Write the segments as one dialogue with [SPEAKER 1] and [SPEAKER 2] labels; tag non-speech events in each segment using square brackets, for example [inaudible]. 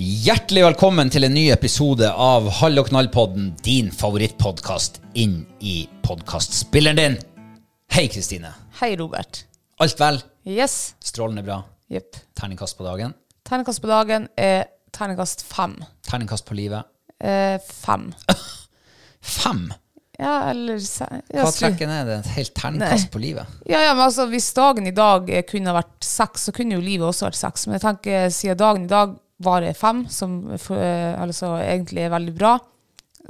[SPEAKER 1] Hjertelig velkommen til en ny episode av Hall og knall-podden, din favorittpodkast inn i podkastspilleren din. Hei, Kristine.
[SPEAKER 2] Hei, Robert.
[SPEAKER 1] Alt vel?
[SPEAKER 2] Yes.
[SPEAKER 1] Strålende bra.
[SPEAKER 2] Jepp.
[SPEAKER 1] Terningkast på dagen.
[SPEAKER 2] Terningkast på dagen er terningkast fem.
[SPEAKER 1] Terningkast på livet.
[SPEAKER 2] Eh, fem.
[SPEAKER 1] Fem!
[SPEAKER 2] Ja, eller se- ja,
[SPEAKER 1] Hva
[SPEAKER 2] slu-
[SPEAKER 1] trekken er det? Et helt terningkast på livet?
[SPEAKER 2] Ja, ja, men altså, hvis dagen i dag eh, kunne ha vært seks, så kunne jo livet også vært seks. Men jeg tenker, siden dagen i dag varer fem, som for, eh, altså, egentlig er veldig bra,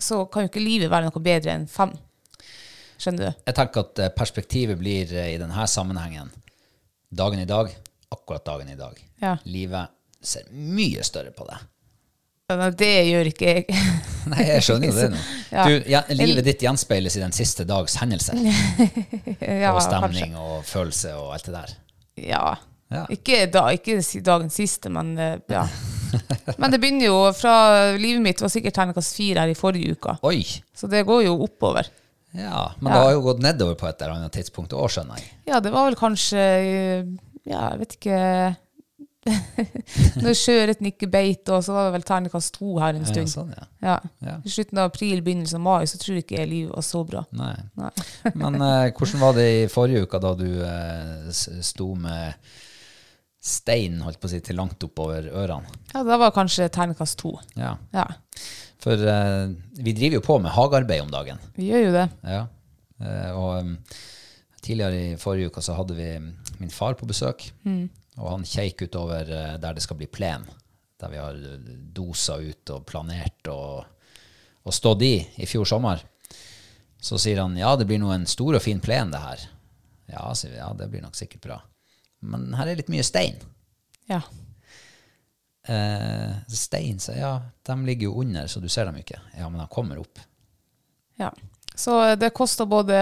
[SPEAKER 2] så kan jo ikke livet være noe bedre enn fem. Skjønner du?
[SPEAKER 1] Jeg tenker at eh, perspektivet blir eh, i denne sammenhengen dagen i dag, akkurat dagen i dag.
[SPEAKER 2] Ja.
[SPEAKER 1] Livet ser mye større på det.
[SPEAKER 2] Men Det gjør ikke jeg.
[SPEAKER 1] [laughs]
[SPEAKER 2] [laughs]
[SPEAKER 1] Nei, jeg skjønner jo det nå.
[SPEAKER 2] Ja.
[SPEAKER 1] Du, ja, livet ditt gjenspeiles i den siste dags hendelser.
[SPEAKER 2] ja,
[SPEAKER 1] og stemning og følelse og alt det der.
[SPEAKER 2] Ja.
[SPEAKER 1] Ja.
[SPEAKER 2] Ikke, da, ikke si dagen siste, men eh,
[SPEAKER 1] [laughs]
[SPEAKER 2] ja. Men det begynner jo fra Livet mitt var sikkert terningkast fire her i forrige uke,
[SPEAKER 1] Oi!
[SPEAKER 2] så det går jo oppover.
[SPEAKER 1] Ja, men
[SPEAKER 2] Ja.
[SPEAKER 1] det har jo gått nedover på et eller annet tidspunkt òg, skjønner jeg.
[SPEAKER 2] Ja, det var vel kanskje eh, Ja, jeg vet ikke [laughs] Når sjøørreten ikke beit, og så var det vel terningkast to her en
[SPEAKER 1] Ja,
[SPEAKER 2] stund.
[SPEAKER 1] sånn, ja.
[SPEAKER 2] Ja.
[SPEAKER 1] Ja.
[SPEAKER 2] I slutten av april, begynnelsen av mai, så tror jeg ikke livet var så bra.
[SPEAKER 1] Nei.
[SPEAKER 2] Nei.
[SPEAKER 1] Men eh, hvordan var det i forrige uke, da du eh, s- sto med stein holdt på å si, til langt oppover ørene?
[SPEAKER 2] Ja, da var kanskje terningkast to.
[SPEAKER 1] Ja.
[SPEAKER 2] Ja,
[SPEAKER 1] For eh, vi driver jo på med hagearbeid om dagen.
[SPEAKER 2] vi gjør jo det.
[SPEAKER 1] Ja. Eh, og um, tidligere i forrige uke så hadde vi mm, min far på besøk, og han kjeik utover eh, der det skal bli plen, der vi har eh, dosa ut og planert og, og stått i i fjor sommer. Så sier han, ja, det blir nå en stor og fin plen det her. Ja, sier vi, ja, det blir nok sikkert bra. Men her er litt mye stein.
[SPEAKER 2] Ja.
[SPEAKER 1] Eh, stein, så ja, de ligger jo under, så du ser dem ikke. Ja, men de kommer opp.
[SPEAKER 2] Ja. Så det koster både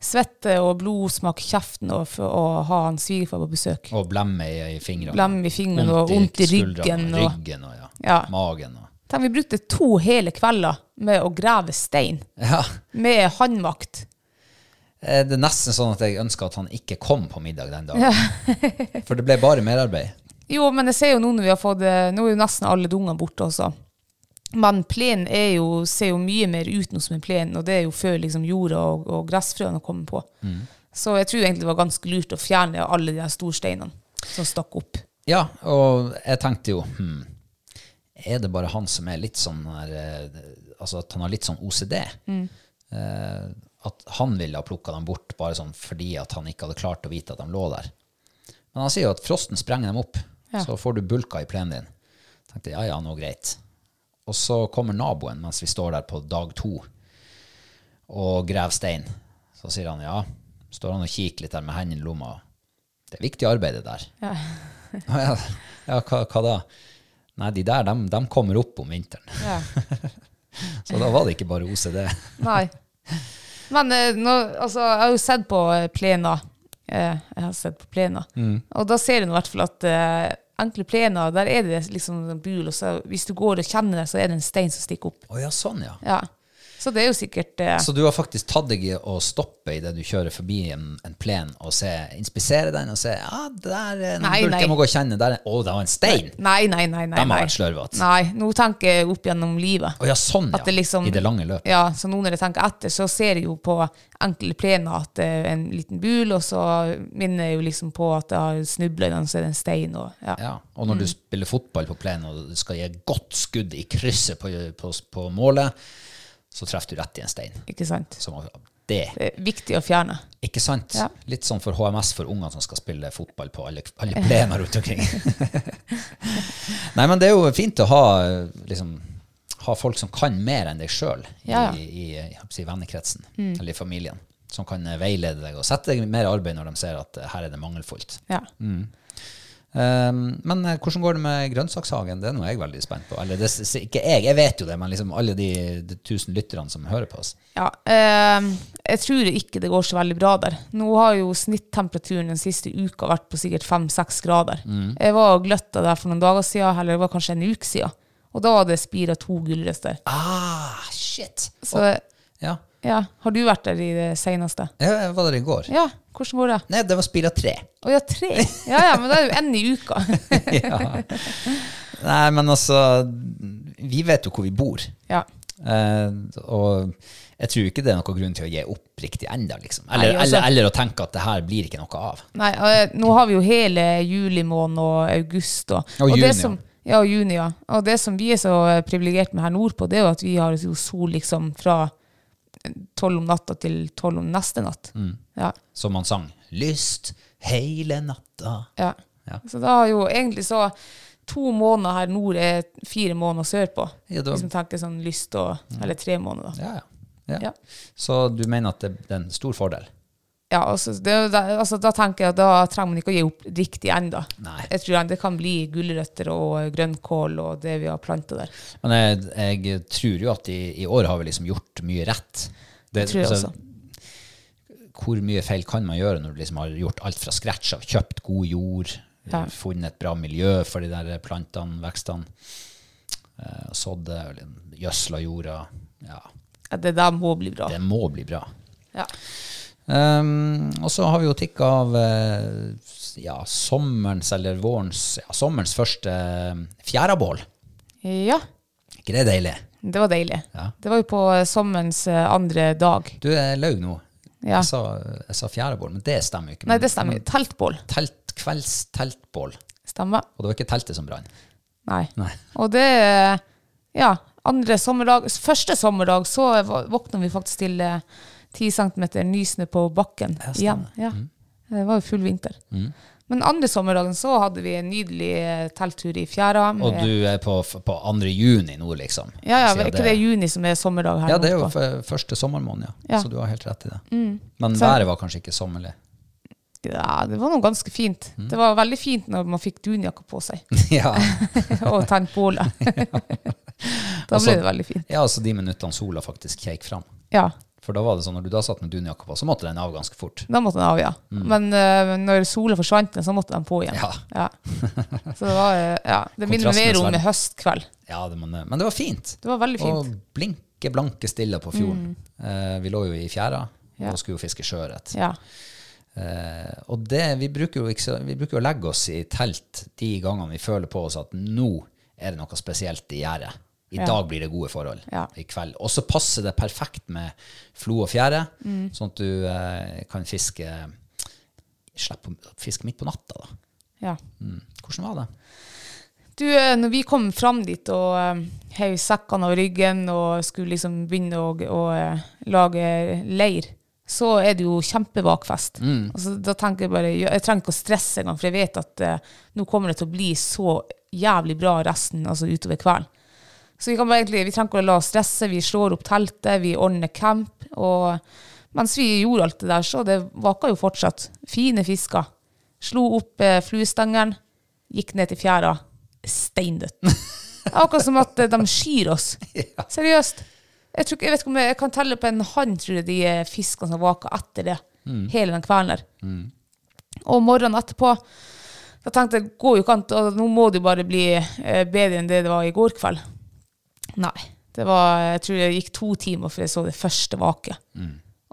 [SPEAKER 2] svette og blodsmak i kjeften å, f- å ha han svigerfar på besøk.
[SPEAKER 1] Og blemme i, i fingrene.
[SPEAKER 2] Blem i fingrene og vondt i ryggen.
[SPEAKER 1] skuldrene,
[SPEAKER 2] Og,
[SPEAKER 1] ryggen og ja.
[SPEAKER 2] Ja.
[SPEAKER 1] magen. Og.
[SPEAKER 2] Tenk, vi brukte to hele kvelder med å grave stein.
[SPEAKER 1] Ja,
[SPEAKER 2] Med håndmakt.
[SPEAKER 1] eh, det er nesten sånn at jeg ønsker at han ikke kom på middag den dagen. For det ble bare merarbeid.
[SPEAKER 2] Jo, men jeg ser jo nå når vi har fått eh, Nå er jo nesten alle dungene borte også. Men plenen er jo, ser jo mye mer ut nå som en plen, og det er jo før liksom, jorda og, og gressfrøene kommer på. Så jeg tror egentlig det var ganske lurt å fjerne alle de her storsteinene som stakk opp.
[SPEAKER 1] Ja, og jeg tenkte jo hm, Er det bare han som er litt sånn her, eh, Altså at han har litt sånn OCD? Eh, at han ville ha plukka dem bort bare sånn fordi at han ikke hadde klart å vite at de lå der. Men han sier jo at frosten sprenger dem opp.
[SPEAKER 2] Ja.
[SPEAKER 1] Så får du bulka i plenen din. tenkte jeg, ja, ja, nå greit. Og så kommer naboen mens vi står der på dag to og graver stein. Så sier han ja. Står han og kikker litt der med hendene i lomma. Det er viktig arbeid, det der.
[SPEAKER 2] Ja.
[SPEAKER 1] Å ja, ja hva, hva da? Nei, de der, dem- dem kommer opp om vinteren. [laughs]
[SPEAKER 2] Ja.
[SPEAKER 1] Så da var det ikke bare OCD.
[SPEAKER 2] Nei. Men eh, nå, altså, jeg har jo sett på eh, plener. Eh, jeg har sett på plener.
[SPEAKER 1] Mm.
[SPEAKER 2] Og da ser du nå i hvert fall at eh, enkle plener, der er det liksom en bul, og så hvis du går og kjenner det, så er det en stein som stikker opp.
[SPEAKER 1] Å ja, sånn, ja.
[SPEAKER 2] Ja. Så det er jo sikkert eh,
[SPEAKER 1] Så du har faktisk tatt deg i å stoppe idet du kjører forbi en, en plen, og se, inspisere den og se ja, det der er en
[SPEAKER 2] Nei,
[SPEAKER 1] bulk
[SPEAKER 2] nei.
[SPEAKER 1] jeg må gå og kjenne. Der, er- å, det var en stein!
[SPEAKER 2] Nei, nei, nei. nei,
[SPEAKER 1] De har
[SPEAKER 2] nei.
[SPEAKER 1] vært slørvete.
[SPEAKER 2] Nei, nå tenker jeg opp gjennom livet.
[SPEAKER 1] Å ja, sånn, ja.
[SPEAKER 2] At det liksom,
[SPEAKER 1] I det lange løpet.
[SPEAKER 2] Ja, så nå når jeg tenker etter, så ser jeg jo på enkle plener at det er en liten bul, og så minner jeg jo liksom på at jeg har snubla i den, så er det en stein. Og, ja.
[SPEAKER 1] Ja, og
[SPEAKER 2] Mm.
[SPEAKER 1] når du spiller fotball på plenen og du skal gi et godt skudd i krysset på, på, på målet, så treffer du rett i en stein.
[SPEAKER 2] Ikke sant?
[SPEAKER 1] Som, det
[SPEAKER 2] Det er viktig å fjerne.
[SPEAKER 1] Ikke sant?
[SPEAKER 2] Ja.
[SPEAKER 1] Litt sånn for HMS for unger som skal spille fotball på alle, alle plener rundt
[SPEAKER 2] [laughs]
[SPEAKER 1] omkring. Nei, men det er jo fint å ha, liksom, ha folk som kan mer enn deg sjøl i,
[SPEAKER 2] Ja, Mm. ja.
[SPEAKER 1] i, jeg holdt på å si, vennekretsen eller i familien. Som kan eh, veilede deg og sette deg mer arbeid når de ser at eh, her er det mangelfullt.
[SPEAKER 2] Ja.
[SPEAKER 1] Um, men eh, hvordan går det med grønnsakshagen? Det er noe jeg er veldig spent på. Eller det, s- s- ikke jeg, jeg vet jo det, men liksom alle de, de tusen lytterne som hører på oss.
[SPEAKER 2] ja. ehm, jeg tror ikke det går så veldig bra der. Nå har jo snittemperaturen den siste uka vært på sikkert fem-seks grader. Jeg var og gløtta der for noen dager siden, eller det var kanskje en uke siden. Og da var det spira to gulrøtter.
[SPEAKER 1] Ah, shit!
[SPEAKER 2] Så
[SPEAKER 1] Ja,
[SPEAKER 2] ja, har du vært der i det seneste?
[SPEAKER 1] jeg jeg var der i går.
[SPEAKER 2] Ja, hvordan går det?
[SPEAKER 1] Nei, det var spira [laughs] tre.
[SPEAKER 2] Å ja, tre? Ja ja, men det er jo én i uka. [laughs]
[SPEAKER 1] Nei, men altså Vi vet jo hvor vi bor.
[SPEAKER 2] Ja.
[SPEAKER 1] Eh, og jeg tror ikke det er noen grunn til å gi opp riktig ennå, liksom. Eller,
[SPEAKER 2] Nei, altså-
[SPEAKER 1] eller, eller å tenke at det her blir ikke noe av.
[SPEAKER 2] Nei, og, eh, nå har vi jo hele juli måned og august. Og,
[SPEAKER 1] Og juni,
[SPEAKER 2] det som, ja, og juni, ja. Og det som vi er så eh, privilegert med her nordpå, det er jo at vi har jo sol liksom fra eh, tolv om natta til tolv om neste natt.
[SPEAKER 1] Mm.
[SPEAKER 2] Ja,
[SPEAKER 1] Som man sang. Lyst hele natta.
[SPEAKER 2] ja.
[SPEAKER 1] Ja.
[SPEAKER 2] Så da har jo egentlig så to måneder her nord er fire måneder sørpå.
[SPEAKER 1] Ja, da- Mm.
[SPEAKER 2] Hvis man tenker sånn lyst og Eller tre måneder, da.
[SPEAKER 1] Ja, ja. ja.
[SPEAKER 2] Ja.
[SPEAKER 1] Så du mener at det, det er en stor fordel?
[SPEAKER 2] Ja, altså, det, er jo da- altså, da tenker jeg at da trenger man ikke å gi opp riktig ennå.
[SPEAKER 1] Nei.
[SPEAKER 2] Jeg tror det kan bli gulrøtter og grønnkål og det vi har planta der.
[SPEAKER 1] Men jeg, jeg tror jo at i, i år har vi liksom gjort mye rett. Det,
[SPEAKER 2] tror jeg
[SPEAKER 1] altså, Hvor mye feil kan man gjøre når du liksom har gjort alt fra scratch av? Kjøpt god jord,
[SPEAKER 2] Ja.
[SPEAKER 1] funnet et bra miljø for de der plantene, vekstene. eh, Sådd det, eller gjødsla jorda. Ja,
[SPEAKER 2] Ja, det der må bli bra.
[SPEAKER 1] det må bli bra.
[SPEAKER 2] Ja.
[SPEAKER 1] Um, og så har vi jo tikka av eh, ja, sommerens eller vårens ja, sommerens første eh, fjærabål.
[SPEAKER 2] ja,
[SPEAKER 1] ikke det deilig?
[SPEAKER 2] det var deilig.
[SPEAKER 1] Ja.
[SPEAKER 2] Det var jo på eh, sommerens eh, andre dag.
[SPEAKER 1] Du, jeg løy nå.
[SPEAKER 2] Ja.
[SPEAKER 1] Jeg sa, jeg sa fjærebål, men det stemmer jo ikke.
[SPEAKER 2] Nei,
[SPEAKER 1] Men-
[SPEAKER 2] det stemmer. Teltbål.
[SPEAKER 1] Telt, kvelds teltbål.
[SPEAKER 2] Stemmer.
[SPEAKER 1] Og det var ikke teltet som brann.
[SPEAKER 2] Nei.
[SPEAKER 1] Nei.
[SPEAKER 2] Og det eh, Ja, andre sommerdag Første sommerdag så va- våkna vi faktisk til eh, 10 centimeter nysnø på bakken igjen. Ja.
[SPEAKER 1] Mm.
[SPEAKER 2] Eh, Det var jo full vinter. Men andre sommerdagen så hadde vi en nydelig eh, telttur i fjæra. med-
[SPEAKER 1] Og du er på, på 2. juni nå, liksom.
[SPEAKER 2] Ja, ja,
[SPEAKER 1] Siden
[SPEAKER 2] er ikke det juni som er sommerdag her?
[SPEAKER 1] Ja, det er jo
[SPEAKER 2] nordpå?
[SPEAKER 1] f- første sommermåned, ja.
[SPEAKER 2] Ja. Mm.
[SPEAKER 1] Så du har helt rett i det. Men været var kanskje ikke sommerlig. [laughs]
[SPEAKER 2] Ja, det var noe ganske fint.
[SPEAKER 1] Mm.
[SPEAKER 2] Det var veldig fint når man fikk dunjakka på seg. [laughs]
[SPEAKER 1] ja.
[SPEAKER 2] og tent
[SPEAKER 1] [laughs]
[SPEAKER 2] bålet. da
[SPEAKER 1] Altså-
[SPEAKER 2] ble det veldig fint.
[SPEAKER 1] ja, altså de minuttene sola faktisk kjeik fram.
[SPEAKER 2] Ja,
[SPEAKER 1] For da var det sånn, når du da satt med dunjakka på, så måtte den av ganske fort.
[SPEAKER 2] da måtte den av, ja. Men eh, når sola forsvant, den, så måtte den på igjen.
[SPEAKER 1] Mm. Ja.
[SPEAKER 2] Så det var, eh, ja, det minner
[SPEAKER 1] Kontrastenes
[SPEAKER 2] mer om
[SPEAKER 1] verden.
[SPEAKER 2] en høstkveld.
[SPEAKER 1] Ja, det, men, men det var fint.
[SPEAKER 2] Det var veldig fint. Mm.
[SPEAKER 1] Og blinke, blanke stille på fjorden. Eh, vi lå jo i fjæra,
[SPEAKER 2] Ja.
[SPEAKER 1] og skulle jo fiske sjøørret.
[SPEAKER 2] Ja.
[SPEAKER 1] Eh, og det, vi, bruker jo ikke, så- vi bruker jo å legge oss i telt de gangene vi føler på oss at nå er det noe spesielt i gjerdet. I dag blir det gode forhold.
[SPEAKER 2] Ja.
[SPEAKER 1] I kveld. Og så passer det perfekt med flo og fjære, sånn at du eh, kan fiske Slipp å fiske midt på natta, da.
[SPEAKER 2] ja.
[SPEAKER 1] Mm. Hvordan var det?
[SPEAKER 2] Du, eh, når vi kom fram dit og eh, heiv sekkene av ryggen og skulle liksom begynne å, å eh, lage leir, så er det jo kjempebakfest. Og så da tenker jeg bare ja, Jeg trenger ikke å stresse engang, for jeg vet at eh, nå kommer det til å bli så jævlig bra resten, altså utover kvelden. Så vi, kan bare egentlig, vi trenger ikke å la oss stresse. Vi slår opp teltet, vi ordner camp. Og mens vi gjorde alt det der, så det vaka jo fortsatt. Fine fisker. Slo opp eh, fluestengeren, gikk ned til fjæra. Steindødt. Det er akkurat som at eh, de skyr oss. Seriøst. Jeg, tror, ikke- jeg vet ikke om jeg, jeg kan telle på en hånd, tror jeg, de eh, fiskene som vaka etter det. Hele den kvelden der. Og morgenen etterpå da tenkte jeg, går jo ikke an, og nå må det jo bare bli eh, bedre enn det det var i går kveld. Nei. Det var, jeg tror det gikk to timer før jeg så det første vaket.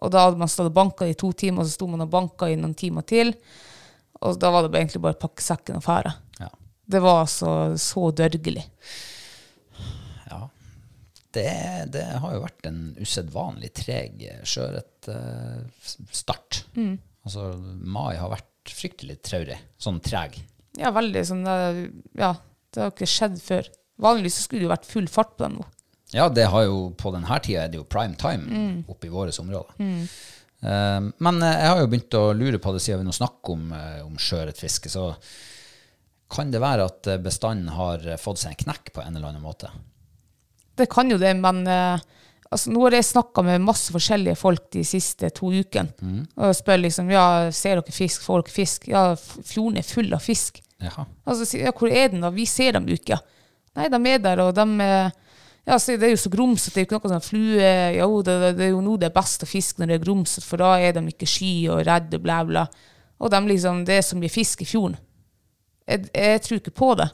[SPEAKER 2] Og da hadde man stått og banka i to timer, og så sto man og banka i noen timer til. Og da var det bare- egentlig bare å pakke sekken og fære.
[SPEAKER 1] Ja.
[SPEAKER 2] Det var altså så dørgelig.
[SPEAKER 1] Ja. Det, det har jo vært en usedvanlig treg eh, sjøørretstart. Altså, mai har vært fryktelig traurig. Sånn treg.
[SPEAKER 2] Ja, veldig sånn eh, Ja, det har ikke skjedd før. Vanligvis så skulle det jo vært full fart på den nå.
[SPEAKER 1] Ja, det har jo, på denne tida er det jo prime time oppe i våre områder. Eh, men eh, jeg har jo begynt å lure på det siden vi nå snakker om, eh, om sjøørretfiske. Så kan det være at eh, bestanden har eh, fått seg en knekk på en eller annen måte?
[SPEAKER 2] Det kan jo det, men eh, altså, nå har jeg snakka med masse forskjellige folk de siste to ukene. Og spør liksom ja, ser dere fisk, får dere fisk? Ja, f- fjorden er full av fisk.
[SPEAKER 1] Jaha.
[SPEAKER 2] Og så sier jeg, ja, hvor er den da? Vi ser dem jo ikke. Nei, de er der, og de eh, ja, så Det er jo så grumsete. Det er jo ikke noe sånn flue Jo, det, det- det er jo nå det er best å fiske når det er grumsete, for da er de ikke sky og redde, bla, bla. Og de liksom, det er så mye fisk i fjorden. Jeg, jeg tror ikke på det.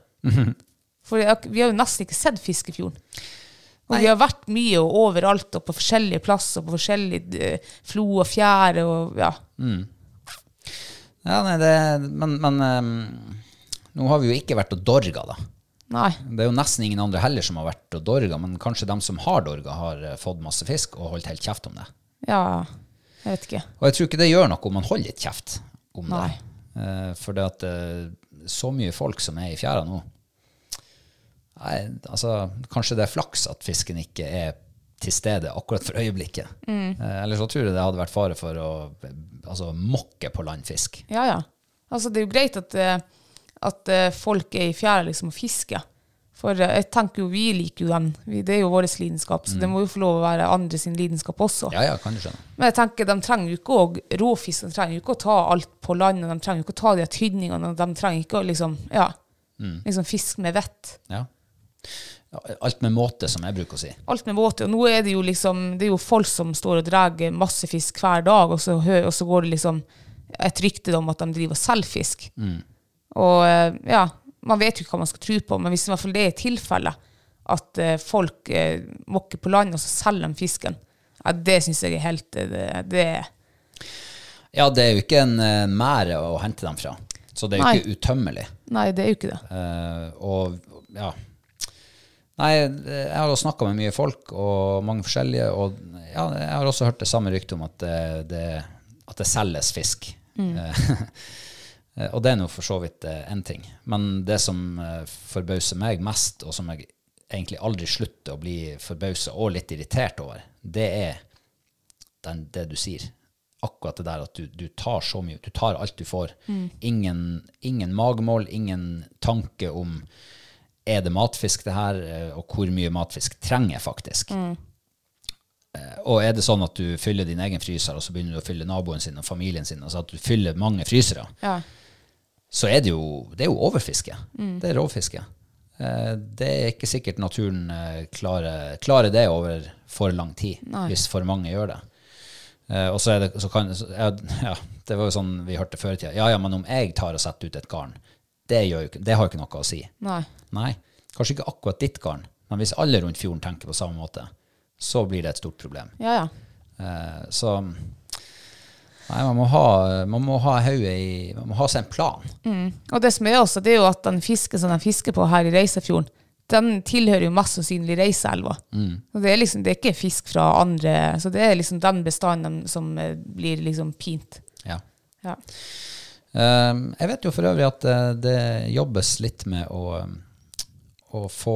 [SPEAKER 2] For jeg, har ikke- vi har jo nesten ikke sett fisk i fjorden. Og vi har vært mye og overalt og på forskjellige plasser, på forskjellige eh, flo og fjære og ja.
[SPEAKER 1] Ja, nei, det, men men eh, nå har vi jo ikke vært og dorga, da.
[SPEAKER 2] Nei.
[SPEAKER 1] Det er jo nesten ingen andre heller som har vært og dorga, men kanskje de som har dorga, har eh, fått masse fisk og holdt helt kjeft om det.
[SPEAKER 2] Ja, jeg vet ikke.
[SPEAKER 1] Og jeg tror ikke det gjør noe om man holder litt kjeft om
[SPEAKER 2] Nei.
[SPEAKER 1] det. Eh, for det at eh, så mye folk som er i fjæra nå Nei, altså, Kanskje det er flaks at fisken ikke er til stede akkurat for øyeblikket.
[SPEAKER 2] Mm.
[SPEAKER 1] Eh, ellers så tror jeg det hadde vært fare for å eh, altså, mokke på landfisk.
[SPEAKER 2] Ja, ja. Altså, det er jo greit at, eh, at eh, folk er i fjæra liksom og fisker. For eh, jeg tenker jo, vi liker jo den. Vi, det er jo vår lidenskap, så det må jo få lov å være andre sin lidenskap også.
[SPEAKER 1] Ja, ja, kan du skjønne.
[SPEAKER 2] Men jeg tenker, de trenger jo ikke å råfiske, de trenger jo ikke å ta alt på land, og de trenger jo ikke å ta de her tydningene, og de trenger ikke å liksom, ja, liksom fiske med vett.
[SPEAKER 1] Ja. Ja, Alt med måte, som jeg bruker å si.
[SPEAKER 2] Alt med våte, og nå er det jo liksom, det er jo folk som står og drar masse fisk hver dag, og så, hø- og så går det liksom et rykte om at de driver og selger fisk. Og eh, ja, man vet jo ikke hva man skal tro på, men hvis i hvert fall det er tilfellet, at eh, folk eh, mokker på land, og så selger de fisken, ja, det synes jeg er helt, eh, det, det er,
[SPEAKER 1] Ja, det er jo ikke en eh, mære å hente dem fra, så det er jo
[SPEAKER 2] Nei.
[SPEAKER 1] ikke utømmelig.
[SPEAKER 2] nei, det er jo ikke det.
[SPEAKER 1] Eh, og ja Nei, jeg har snakka med mye folk og mange forskjellige, og ja, jeg har også hørt det samme ryktet om at det, det, at det selges fisk. [laughs] Eh, og det er nå for så vidt én ting. Men det som eh, forbauser meg mest, og som jeg egentlig aldri slutter å bli forbausa og litt irritert over, det er den, det du sier. Akkurat det der at du, du tar så mye, du tar alt du får. Ingen, ingen magemål, ingen tanke om er det matfisk det her, eh, og hvor mye matfisk trenger jeg faktisk. Eh, Og er det sånn at du fyller din egen fryser, og så begynner du å fylle naboen sin og familien sin, altså at du fyller mange frysere,
[SPEAKER 2] Ja.
[SPEAKER 1] så er det jo, det er jo overfiske. Det er rovfiske. Eh, Det er ikke sikkert naturen eh, klarer, klarer det over for lang tid, hvis for mange gjør det. Eh, Og så er det, så kan, så- ja, ja, det var jo sånn vi hørte før i tida. Ja, ja, men om jeg tar og setter ut et garn, det, gjør jo, ikke- det har jo ikke noe å si.
[SPEAKER 2] Nei.
[SPEAKER 1] Nei, kanskje ikke akkurat ditt garn, men hvis alle rundt fjorden tenker på samme måte, så blir det et stort problem.
[SPEAKER 2] Ja, ja.
[SPEAKER 1] Eh, Så nei, man må ha, man må ha hodet i Man må ha seg en plan.
[SPEAKER 2] Og det som er også, det er jo at den fisken som de fisker på her i Reisefjorden, den tilhører jo mest sannsynlig Reiseelva.
[SPEAKER 1] Mm.
[SPEAKER 2] Og det er liksom, det er ikke fisk fra andre, så det er liksom den bestanden som eh, blir liksom pint.
[SPEAKER 1] Ja.
[SPEAKER 2] Ja.
[SPEAKER 1] Um, Jeg vet jo for øvrig at eh, det jobbes litt med å, um, å eh, få,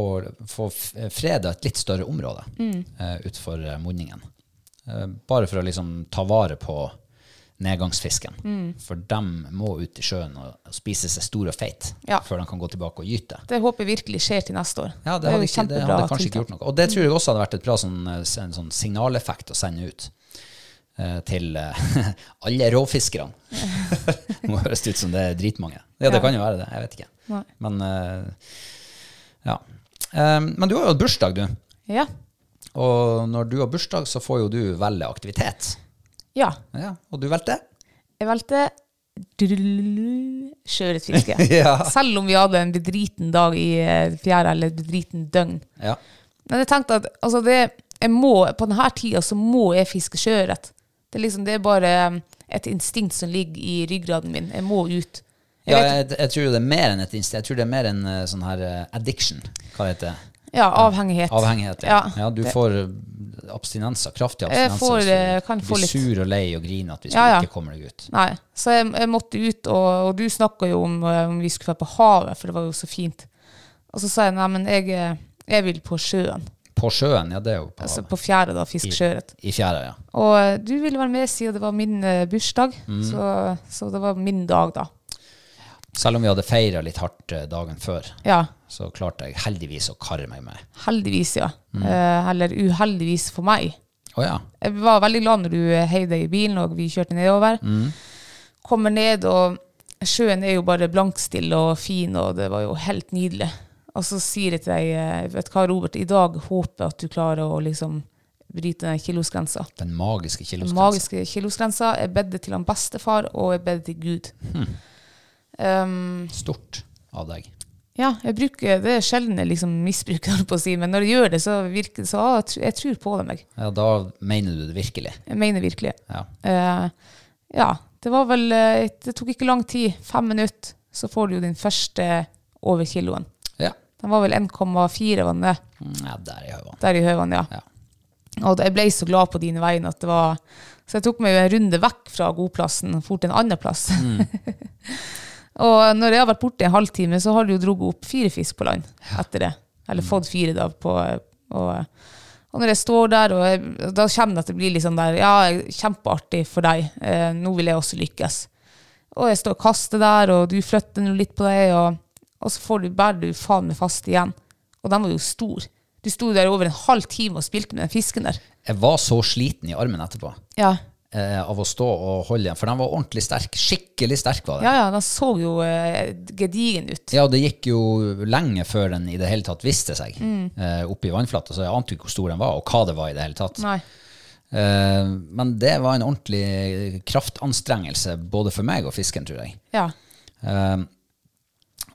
[SPEAKER 1] få f- freda et litt større område mm. utenfor eh, munningen. Eh, Bare for å liksom ta vare på nedgangsfisken. For de må ut i sjøen og og spise seg stor og feit
[SPEAKER 2] Ja.
[SPEAKER 1] før de kan gå tilbake og gyte.
[SPEAKER 2] Det håper jeg virkelig skjer til neste år.
[SPEAKER 1] Ja, det, hadde,
[SPEAKER 2] er
[SPEAKER 1] ikke,
[SPEAKER 2] jo
[SPEAKER 1] det
[SPEAKER 2] kjempebra
[SPEAKER 1] hadde kanskje ikke
[SPEAKER 2] tiltak.
[SPEAKER 1] gjort noe. Og det tror jeg også hadde vært et bra sånn, eh, s- en sånn signaleffekt å sende ut eh, til eh, [laughs] alle rovfiskerne. [laughs] det må høres ut som det er dritmange. Ja, det
[SPEAKER 2] Ja.
[SPEAKER 1] kan jo være det. Jeg vet ikke.
[SPEAKER 2] Nei.
[SPEAKER 1] Men eh, ja. Eh, Men du har jo hatt bursdag, du.
[SPEAKER 2] Ja.
[SPEAKER 1] Og når du har bursdag, så får jo du velge aktivitet.
[SPEAKER 2] ja.
[SPEAKER 1] Ja, og du valgte?
[SPEAKER 2] Jeg valgte sjøørretfiske.
[SPEAKER 1] [laughs] Ja.
[SPEAKER 2] Selv om vi hadde en bedriten dag i eh, fjæra, eller et bedriten døgn.
[SPEAKER 1] Ja.
[SPEAKER 2] Men jeg tenkte at altså det, jeg må, på denne tida så må jeg fiske sjøørret. Det, er liksom, det er bare eh, et instinkt som ligger i ryggraden min. Jeg må ut. Jeg
[SPEAKER 1] Ja, jeg,
[SPEAKER 2] vet,
[SPEAKER 1] jeg tror det er mer enn et instinkt. Jeg tror det er mer en eh, sånn her eh, addiction. Hva heter det?
[SPEAKER 2] ja, avhengighet.
[SPEAKER 1] Avhengighet, ja. ja.
[SPEAKER 2] Ja,
[SPEAKER 1] du
[SPEAKER 2] det-
[SPEAKER 1] får eh, abstinenser, kraftige
[SPEAKER 2] Jeg
[SPEAKER 1] abstinenser.
[SPEAKER 2] får,
[SPEAKER 1] hvis
[SPEAKER 2] eh,
[SPEAKER 1] du,
[SPEAKER 2] kan
[SPEAKER 1] du
[SPEAKER 2] få
[SPEAKER 1] blir
[SPEAKER 2] litt-
[SPEAKER 1] sur og lei og grinete hvis
[SPEAKER 2] Ja, ja.
[SPEAKER 1] du ikke kommer deg ut.
[SPEAKER 2] Nei, så jeg, jeg måtte ut, og, og du snakka jo om eh, om vi skulle være på havet, for det var jo så fint. Og så sa jeg nei, men jeg, eh, jeg vil på sjøen.
[SPEAKER 1] På sjøen, ja, det er jo på,
[SPEAKER 2] Altså på fjæra, da.
[SPEAKER 1] I-
[SPEAKER 2] Fiske sjøørret.
[SPEAKER 1] i fjæra, ja.
[SPEAKER 2] Og eh, du ville være med siden det var min eh, bursdag,
[SPEAKER 1] Mm.
[SPEAKER 2] så, så det var min dag, da.
[SPEAKER 1] Selv om vi hadde feira litt hardt eh, dagen før,
[SPEAKER 2] Ja.
[SPEAKER 1] så klarte jeg heldigvis å karre meg med.
[SPEAKER 2] Heldigvis, ja.
[SPEAKER 1] Mm.
[SPEAKER 2] Eh, eller uheldigvis for meg.
[SPEAKER 1] Å ja.
[SPEAKER 2] Jeg var veldig glad når du eh, heiv deg i bilen og vi kjørte nedover. Kommer ned, og sjøen er jo bare blankstille og fin, og det var jo helt nydelig. Og så sier jeg til deg, eh, vet du hva, Robert, i dag håper jeg at du klarer å liksom bryte den kilosgrensa.
[SPEAKER 1] Den magiske
[SPEAKER 2] Den
[SPEAKER 1] kilosgrensa.
[SPEAKER 2] magiske kilosgrensa. Jeg bedde til han bestefar, og jeg bedde til Gud. Um,
[SPEAKER 1] Stort av deg.
[SPEAKER 2] ja, jeg bruker, det er sjelden jeg liksom misbruker, [laughs] holdt på å si, men når jeg gjør det, så virker det så, ah, jeg tr- jeg tror på det meg.
[SPEAKER 1] Ja, da mener du det virkelig.
[SPEAKER 2] Jeg mener virkelig.
[SPEAKER 1] Ja.
[SPEAKER 2] Eh, ja, det var vel eh, Det tok ikke lang tid. Fem minutter, så får du jo din første over kiloen.
[SPEAKER 1] Ja.
[SPEAKER 2] Den var vel 1,4 var den det,
[SPEAKER 1] ja der er høvan.
[SPEAKER 2] der i høvene, ja.
[SPEAKER 1] Ja.
[SPEAKER 2] Og jeg ble så glad på dine vegne at det var Så jeg tok meg jo en runde vekk fra godplassen og for til en annen plass. og når jeg har vært borte en halvtime, så har du jo drugget opp fire fisk på land etter det. Eller fått fire, da. På, og, og når jeg står der, og jeg, da kjenner jeg at det blir litt sånn der Ja, kjempeartig for deg. Eh, nå vil jeg også lykkes. Og jeg står og kaster der, og du flytter nå litt på deg, og, og så får du, bærer du faen meg fast igjen. Og den var jo stor. Du sto der over en halv time og spilte med den fisken der.
[SPEAKER 1] Jeg var så sliten i armen etterpå
[SPEAKER 2] Ja,
[SPEAKER 1] eh, av å stå og holde igjen, for den var ordentlig sterk. Skikkelig sterk var den.
[SPEAKER 2] ja, ja den så jo eh, gedigen ut.
[SPEAKER 1] Ja, og det gikk jo lenge før den i det hele tatt viste seg
[SPEAKER 2] Mm.
[SPEAKER 1] eh, oppe i vannflata, så jeg ante jo ikke hvor stor den var, og hva det var i det hele tatt.
[SPEAKER 2] Nei.
[SPEAKER 1] Eh, men det var en ordentlig kraftanstrengelse både for meg og fisken, tror jeg.
[SPEAKER 2] Ja.
[SPEAKER 1] Eh,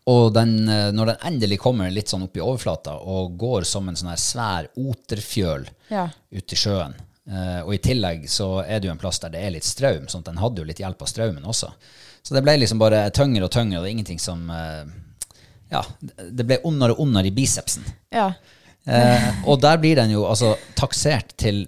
[SPEAKER 1] og den, eh, når den endelig kommer litt sånn opp i overflata og går som en sånn her svær oterfjøl
[SPEAKER 2] Ja.
[SPEAKER 1] ut i sjøen, eh, og i tillegg så er det jo en plass der det er litt strøm, sånn at den hadde jo litt hjelp av strømmen også. Så det ble liksom bare tyngre og tyngre, og det er ingenting som eh, Ja, det ble ondere og ondere i bicepsen.
[SPEAKER 2] ja.
[SPEAKER 1] Eh, og der blir den jo altså taksert til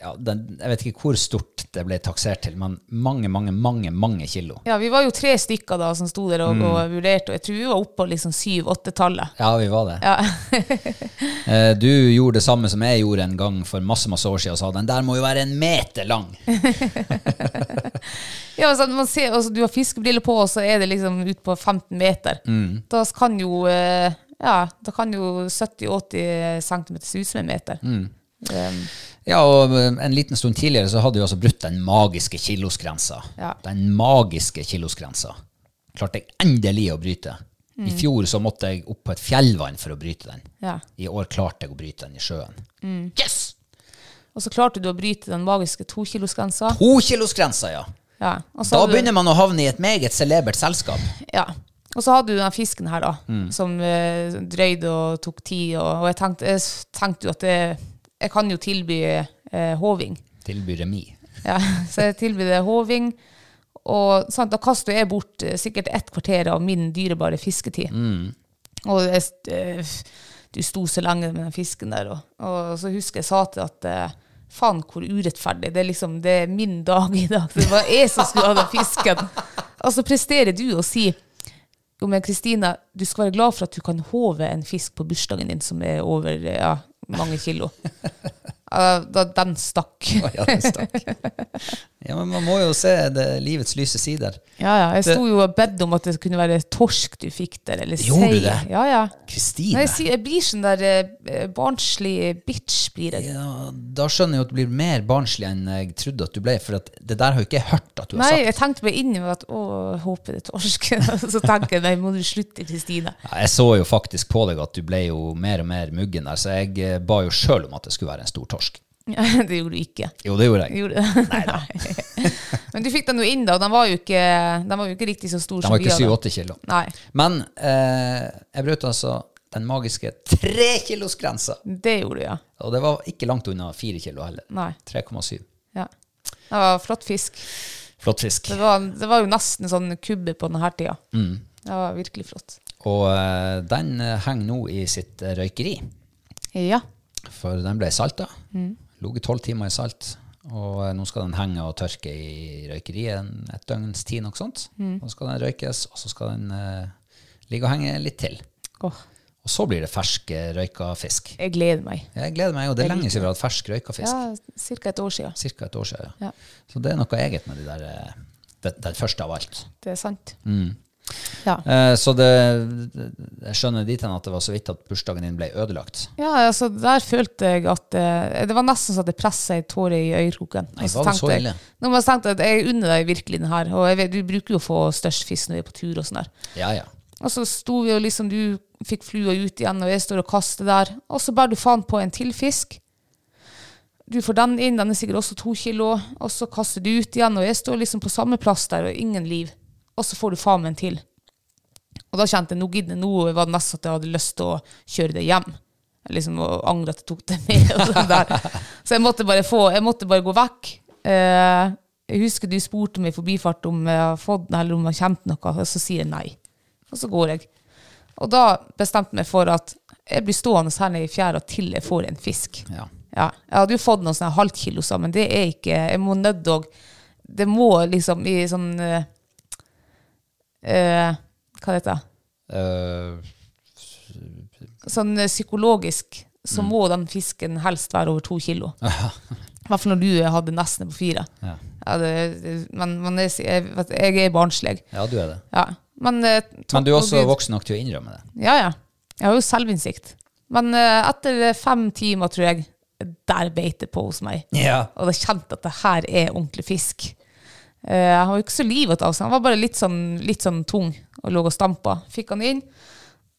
[SPEAKER 1] ja, den, Jeg vet ikke hvor stort det ble taksert til, men mange, mange, mange mange kilo.
[SPEAKER 2] Ja, vi var jo tre stykker da som sto der og,
[SPEAKER 1] Mm.
[SPEAKER 2] og vurderte, og jeg tror vi var oppe på liksom syv-åtte-tallet.
[SPEAKER 1] Ja, vi var det.
[SPEAKER 2] Ja. [laughs]
[SPEAKER 1] Eh, du gjorde det samme som jeg gjorde en gang for masse masse år siden og sa den der må jo være en meter lang.
[SPEAKER 2] ja, altså, man ser, altså, du har fiskebriller på, og så er det liksom ut på 15 meter.
[SPEAKER 1] Mm.
[SPEAKER 2] Da kan jo eh, ja, da kan jo 70-80 cm se ut som en meter.
[SPEAKER 1] Mm.
[SPEAKER 2] Um,
[SPEAKER 1] Ja, og eh, en liten stund tidligere så hadde vi altså brutt den magiske kilosgrensa.
[SPEAKER 2] Ja.
[SPEAKER 1] Den magiske kilosgrensa klarte jeg endelig å bryte.
[SPEAKER 2] Mm.
[SPEAKER 1] I fjor så måtte jeg opp på et fjellvann for å bryte den.
[SPEAKER 2] ja.
[SPEAKER 1] I år klarte jeg å bryte den i sjøen.
[SPEAKER 2] Mm.
[SPEAKER 1] Yes!
[SPEAKER 2] Og så klarte du å bryte den magiske tokilosgrensa.
[SPEAKER 1] Tokilosgrensa, ja.
[SPEAKER 2] Ja. og så
[SPEAKER 1] Da
[SPEAKER 2] hadde du-
[SPEAKER 1] begynner man å havne i et meget celebert selskap.
[SPEAKER 2] Ja. Og så hadde du den fisken her, da,
[SPEAKER 1] Mm.
[SPEAKER 2] som eh, drøyde og tok tid. Og, og jeg, tenkte, jeg s- tenkte jo at det, jeg kan jo tilby eh, håving.
[SPEAKER 1] Tilbyr
[SPEAKER 2] [laughs]
[SPEAKER 1] remis.
[SPEAKER 2] Ja, så jeg tilbød det håving. Og sant, da kaster jeg bort eh, sikkert ett kvarter av min dyrebare fisketid. Og jeg, st- eh, du sto så lenge med den fisken der, og, og så husker jeg sa til at eh, faen hvor urettferdig. Det er liksom det er min dag i dag. Det var jeg som skulle ha den fisken. Og så presterer du å si jo, men Kristina, du skal være glad for at du kan håve en fisk på bursdagen din som er over eh, ja, mange kilo. Ja, Da, den stakk.
[SPEAKER 1] Å, Ja, det stakk. Ja, men man må jo se det livets lyse sider.
[SPEAKER 2] Ja, ja. Jeg
[SPEAKER 1] Det-
[SPEAKER 2] sto jo og bedde om at det kunne være torsk du fikk der, eller sei.
[SPEAKER 1] Gjorde du det?
[SPEAKER 2] Ja, ja. Nei,
[SPEAKER 1] Kristine,
[SPEAKER 2] jeg, sier- jeg blir sånn der eh, barnslig bitch, blir jeg.
[SPEAKER 1] ja, da skjønner jeg jo at du blir mer barnslig enn jeg trodde at du ble, for at det der har jo ikke jeg hørt at du
[SPEAKER 2] Nei,
[SPEAKER 1] har sagt.
[SPEAKER 2] jeg tenkte meg inni meg at å, jeg håper det er torsk. [laughs] Så tenker jeg nei, må du slutte, Kristine.
[SPEAKER 1] Ja, Jeg så jo faktisk på deg at du ble jo mer og mer muggen der, så jeg eh, ba jo sjøl om at det skulle være en stor torsk.
[SPEAKER 2] [laughs] Ja, det gjorde du ikke.
[SPEAKER 1] Jo, det gjorde jeg.
[SPEAKER 2] Gjorde [laughs] du? Nei da. Men du fikk den jo inn, da. og Den var jo ikke, den var jo ikke riktig så stor
[SPEAKER 1] Den var ikke
[SPEAKER 2] vi hadde.
[SPEAKER 1] 7-8 kilo.
[SPEAKER 2] Nei.
[SPEAKER 1] Men eh, jeg brøt altså den magiske trekilosgrensa.
[SPEAKER 2] Det gjorde du, ja.
[SPEAKER 1] Og det var ikke langt unna fire kilo heller.
[SPEAKER 2] Nei.
[SPEAKER 1] 3,7.
[SPEAKER 2] ja. Det var flott fisk.
[SPEAKER 1] Flott fisk.
[SPEAKER 2] Det var, det var jo nesten sånn kubbe på denne tida.
[SPEAKER 1] Mm.
[SPEAKER 2] Det var virkelig flott.
[SPEAKER 1] Og eh, den eh, henger nå i sitt eh, røykeri,
[SPEAKER 2] Ja.
[SPEAKER 1] for den ble salta.
[SPEAKER 2] Mm.
[SPEAKER 1] Ligget tolv timer i salt. Og eh, nå skal den henge og tørke i røykeriet en- et døgns tid, noe sånt.
[SPEAKER 2] Mm.
[SPEAKER 1] Og så skal den røykes, og så skal den eh, ligge og henge litt til.
[SPEAKER 2] Åh,
[SPEAKER 1] Og så blir det fersk eh, røyka fisk.
[SPEAKER 2] jeg gleder meg.
[SPEAKER 1] Jeg gleder meg, og det er lenge siden vi har hatt fersk røyka fisk.
[SPEAKER 2] Ja, Ca. et år siden.
[SPEAKER 1] Cirka et år siden. Ja.
[SPEAKER 2] Ja.
[SPEAKER 1] Så det er noe eget med de der, eh, det, det første av alt.
[SPEAKER 2] Det er sant.
[SPEAKER 1] Mm.
[SPEAKER 2] Ja.
[SPEAKER 1] Eh, så det, jeg skjønner dit hen at det var så vidt at bursdagen din ble ødelagt.
[SPEAKER 2] ja, altså der følte jeg at eh, Det var nesten så at det pressa ei tåre i øyekroken.
[SPEAKER 1] Nei,
[SPEAKER 2] Og så
[SPEAKER 1] var det
[SPEAKER 2] tenkte
[SPEAKER 1] så
[SPEAKER 2] jeg-
[SPEAKER 1] ille?
[SPEAKER 2] Nå må jeg tenke at jeg unner deg virkelig den her. Og jeg vet, du bruker jo å få størst fisk når vi er på tur og sånn der.
[SPEAKER 1] Ja, ja.
[SPEAKER 2] Og så sto vi og liksom Du fikk flua ut igjen, og jeg står og kaster der. Og så bærer du faen på en til fisk. Du får den inn, den er sikkert også to kilo. Og så kaster du ut igjen, og jeg står liksom på samme plass der, og ingen liv. Og så får du faen meg en til. Og da kjente jeg nå gidder jeg, nå var det nesten at jeg hadde lyst til å kjøre det hjem. Jeg Liksom og angre at jeg tok det [laughs] med. Og sånn der. Så jeg måtte bare få, jeg måtte bare gå vekk. Eh, jeg husker du spurte meg i forbifart om jeg har fått den, eller om jeg har kjent noe, og så sier jeg nei. Og så går jeg. Og da bestemte jeg meg for at jeg blir stående her nede i fjæra til jeg får en fisk.
[SPEAKER 1] Ja.
[SPEAKER 2] Ja, jeg hadde jo fått sånn noen sånne halvkiloser, men det er ikke Jeg må nødt og Det må liksom i sånn eh, eh, Hva heter det?
[SPEAKER 1] Eh,
[SPEAKER 2] Sånn eh, psykologisk så
[SPEAKER 1] Mm.
[SPEAKER 2] må den fisken helst være over to
[SPEAKER 1] [laughs]
[SPEAKER 2] kilo. I hvert fall når du hadde nesten på fire.
[SPEAKER 1] Ja.
[SPEAKER 2] Ja, det, det- men men jeg, sier- jeg, vet- jeg er barnslig.
[SPEAKER 1] ja, du er det.
[SPEAKER 2] Ja. Men, eh, takk
[SPEAKER 1] Men du er
[SPEAKER 2] og
[SPEAKER 1] også
[SPEAKER 2] Gud-
[SPEAKER 1] voksen nok til å innrømme det.
[SPEAKER 2] Ja, ja. Jeg har jo selvinnsikt. Men eh, etter fem timer, tror jeg, der beit det på hos meg.
[SPEAKER 1] Ja.
[SPEAKER 2] Og da kjente jeg at det her er ordentlig fisk. Eh, han var jo ikke så livet av seg, han var bare litt sånn, litt sånn tung og lå og stampa. Fikk han inn.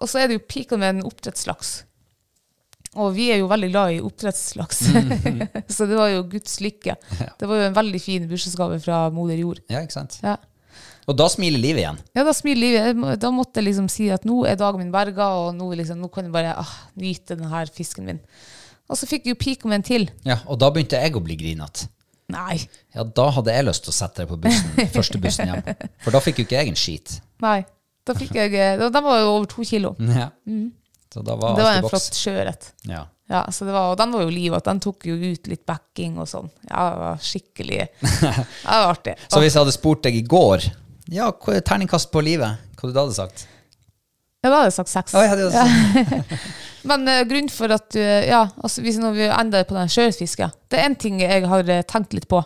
[SPEAKER 2] Og så er det jo piken med en oppdrettslaks. Og vi er jo veldig glad i oppdrettslaks, [laughs] så det var jo Guds lykke. Det var jo en veldig fin bursdagsgave fra moder jord.
[SPEAKER 1] ja, ikke sant?
[SPEAKER 2] Ja.
[SPEAKER 1] Og da smiler livet igjen.
[SPEAKER 2] Ja, da smiler livet. Jeg må- Da måtte jeg liksom si at nå er dagen min berga, og nå, liksom, nå kan jeg bare ah, nyte denne fisken min. Og så fikk jeg jo pika med en til.
[SPEAKER 1] Ja, og da begynte jeg å bli grinete.
[SPEAKER 2] Nei.
[SPEAKER 1] Ja, da hadde jeg lyst til å sette deg på [laughs] bussen, første bussen hjem. For da fikk jo ikke jeg en skit.
[SPEAKER 2] Nei. Da fikk jeg, eh, da- Den var jo over to kilo.
[SPEAKER 1] Ja. Så Mm. da var
[SPEAKER 2] det var
[SPEAKER 1] alt i
[SPEAKER 2] en
[SPEAKER 1] boks.
[SPEAKER 2] flott sjøørret.
[SPEAKER 1] Ja.
[SPEAKER 2] Ja, så det var, og den var jo livet. Den tok jo ut litt backing og sånn. Ja, det var
[SPEAKER 1] [laughs]
[SPEAKER 2] skikkelig ja, Det var artig.
[SPEAKER 1] Så hvis jeg hadde spurt deg i går ja, hva- terningkast på livet, hva du da hadde sagt?
[SPEAKER 2] Ja, da hadde jeg sagt seks.
[SPEAKER 1] Å, jeg hadde jo sagt
[SPEAKER 2] Men eh, grunnen for at eh, Ja, altså hvis når vi ender på den sjøørretfisket Det er en ting jeg har eh, tenkt litt på.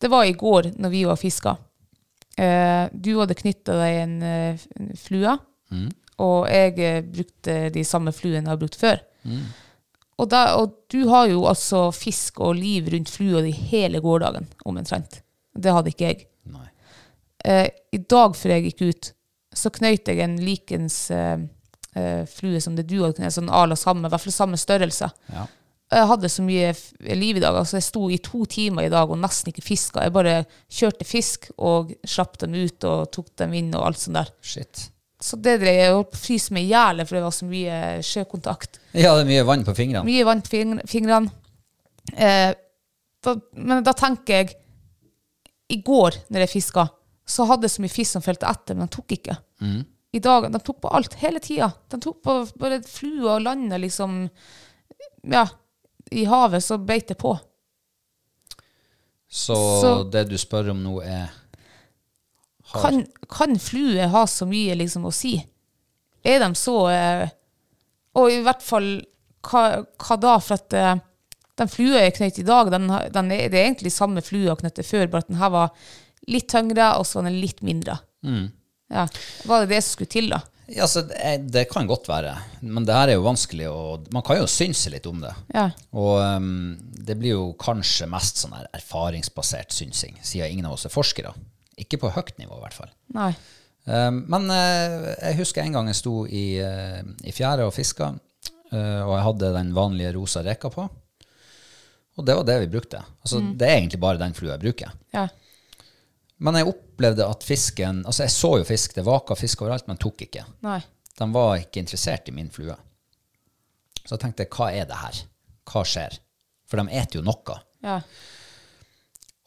[SPEAKER 2] Det var i går når vi var og fiska. Eh, du hadde knytta deg en, eh, f- en flue, og jeg eh, brukte de samme fluene jeg har brukt før. Og, da, og du har jo altså fisk og liv rundt flua di hele gårsdagen, omtrent. Det hadde ikke jeg.
[SPEAKER 1] Nei.
[SPEAKER 2] Eh, I dag før jeg gikk ut, så knøyt jeg en likens eh, eh, flue som det du hadde knøyt, sånn ala samme, i hvert fall samme størrelse.
[SPEAKER 1] Ja.
[SPEAKER 2] Jeg hadde så mye f- liv i dag, altså jeg sto i to timer i dag og nesten ikke fiska. Jeg bare kjørte fisk og slapp dem ut og tok dem inn og alt sånt der.
[SPEAKER 1] Shit.
[SPEAKER 2] Så det drev jeg og fryste meg i hjel for det var så mye sjøkontakt.
[SPEAKER 1] Ja, det er mye vann på fingrene.
[SPEAKER 2] Mye vann på fing- fingrene. Eh, da, men da tenker jeg I går, når jeg fiska, så hadde jeg så mye fisk som fulgte etter, men de tok ikke. I dag, De tok på alt, hele tida. De tok på både flua og landet, liksom. Ja, i havet så beit det på.
[SPEAKER 1] Så,
[SPEAKER 2] Så-
[SPEAKER 1] det du spør om nå, er har-
[SPEAKER 2] Kan, kan flue ha så mye liksom å si? Er de så eh, Og i hvert fall hva, hva da? For at eh, Den flua jeg knøt i dag, den, har- den er, det er egentlig samme flua jeg knøtte før, bare at den her var litt tyngre, og så var den litt mindre. Ja. Var det det som skulle til, da?
[SPEAKER 1] Ja, så det, det kan godt være, men det her er jo vanskelig, og man kan jo synse litt om det.
[SPEAKER 2] Ja.
[SPEAKER 1] Og ehm, det blir jo kanskje mest sånn her erfaringsbasert synsing, siden ingen av oss er forskere. Ikke på høyt nivå, i hvert fall.
[SPEAKER 2] Nei.
[SPEAKER 1] Ehm, men eh, jeg husker en gang jeg sto i, eh, i fjære og fiska, eh, og jeg hadde den vanlige rosa reka på. Og det var det vi brukte. Altså, Det er egentlig bare den flua jeg bruker.
[SPEAKER 2] Ja.
[SPEAKER 1] Men jeg opplevde at fisken Altså, jeg så jo fisk, det vaka fisk overalt, men tok ikke.
[SPEAKER 2] Nei.
[SPEAKER 1] De var ikke interessert i min flue. Så jeg tenkte, hva er det her? Hva skjer? For de eter jo noe.
[SPEAKER 2] Ja.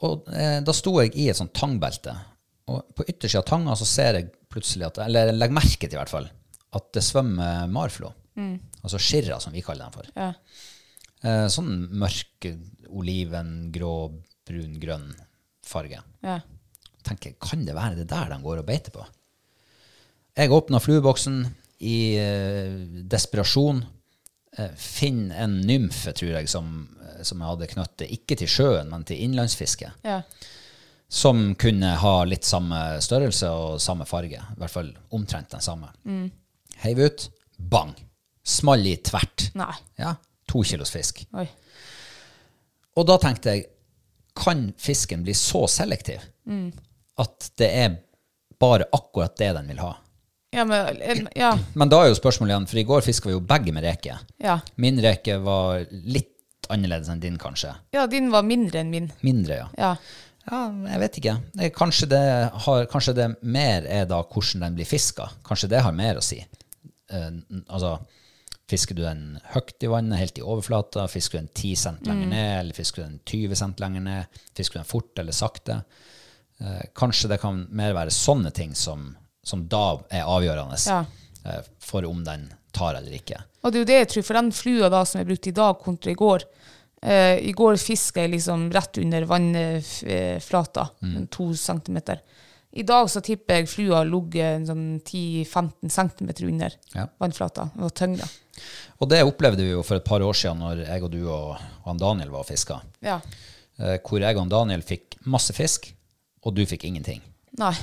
[SPEAKER 1] Og eh, da sto jeg i et sånt tangbelte, og på yttersida av tanga så ser jeg plutselig at, eller jeg legger merke til i hvert fall, at det svømmer marflå. Altså skirra, som vi kaller dem for.
[SPEAKER 2] Ja.
[SPEAKER 1] Eh, sånn mørk, oliven, grå, brun, grønn farge.
[SPEAKER 2] Ja.
[SPEAKER 1] tenker, kan det være det der de går og beiter på? Jeg åpner flueboksen i eh, desperasjon. Eh, finn en nymfe, tror jeg, som, eh, som jeg hadde knøttet, ikke til sjøen, men til innlandsfiske,
[SPEAKER 2] Ja.
[SPEAKER 1] som kunne ha litt samme størrelse og samme farge. I hvert fall omtrent den samme. Heiv ut, bang! Small i tvert.
[SPEAKER 2] Nei.
[SPEAKER 1] Ja, to kilos fisk.
[SPEAKER 2] Oi.
[SPEAKER 1] Og da tenkte jeg, kan fisken bli så selektiv at det er bare akkurat det den vil ha?
[SPEAKER 2] Ja, men eh, Ja.
[SPEAKER 1] Men da er jo spørsmålet igjen, for i går fiska vi jo begge med reke.
[SPEAKER 2] Ja.
[SPEAKER 1] Min reke var litt annerledes enn din, kanskje.
[SPEAKER 2] ja, din var mindre enn min.
[SPEAKER 1] Mindre, ja.
[SPEAKER 2] Ja.
[SPEAKER 1] Ja, jeg vet ikke. Eh, Kanskje det, har, kanskje det mer er da hvordan den blir fiska. Kanskje det har mer å si. Eh, n- altså, fisker du den høyt i vannet, helt i overflata? Fisker du den 10 cent lenger ned? Eller fisker du den 20 cent lenger ned? Fisker du den fort eller sakte? Eh, kanskje det kan mer være sånne ting som, som da er avgjørende
[SPEAKER 2] Ja.
[SPEAKER 1] eh, for om den tar eller ikke.
[SPEAKER 2] Og det er jo det jeg tror, for den flua da som jeg brukte i dag kontra i går eh, I går fiska jeg liksom rett under vannflata, to centimeter. I dag så tipper jeg flua har ligget en sånn 10-15 centimeter under
[SPEAKER 1] Ja.
[SPEAKER 2] vannflata og tyngda.
[SPEAKER 1] Og det opplevde vi jo for et par år siden når jeg og du og, og han Daniel var og fiska.
[SPEAKER 2] Ja.
[SPEAKER 1] eh, hvor jeg og Daniel fikk masse fisk, og du fikk ingenting.
[SPEAKER 2] Nei.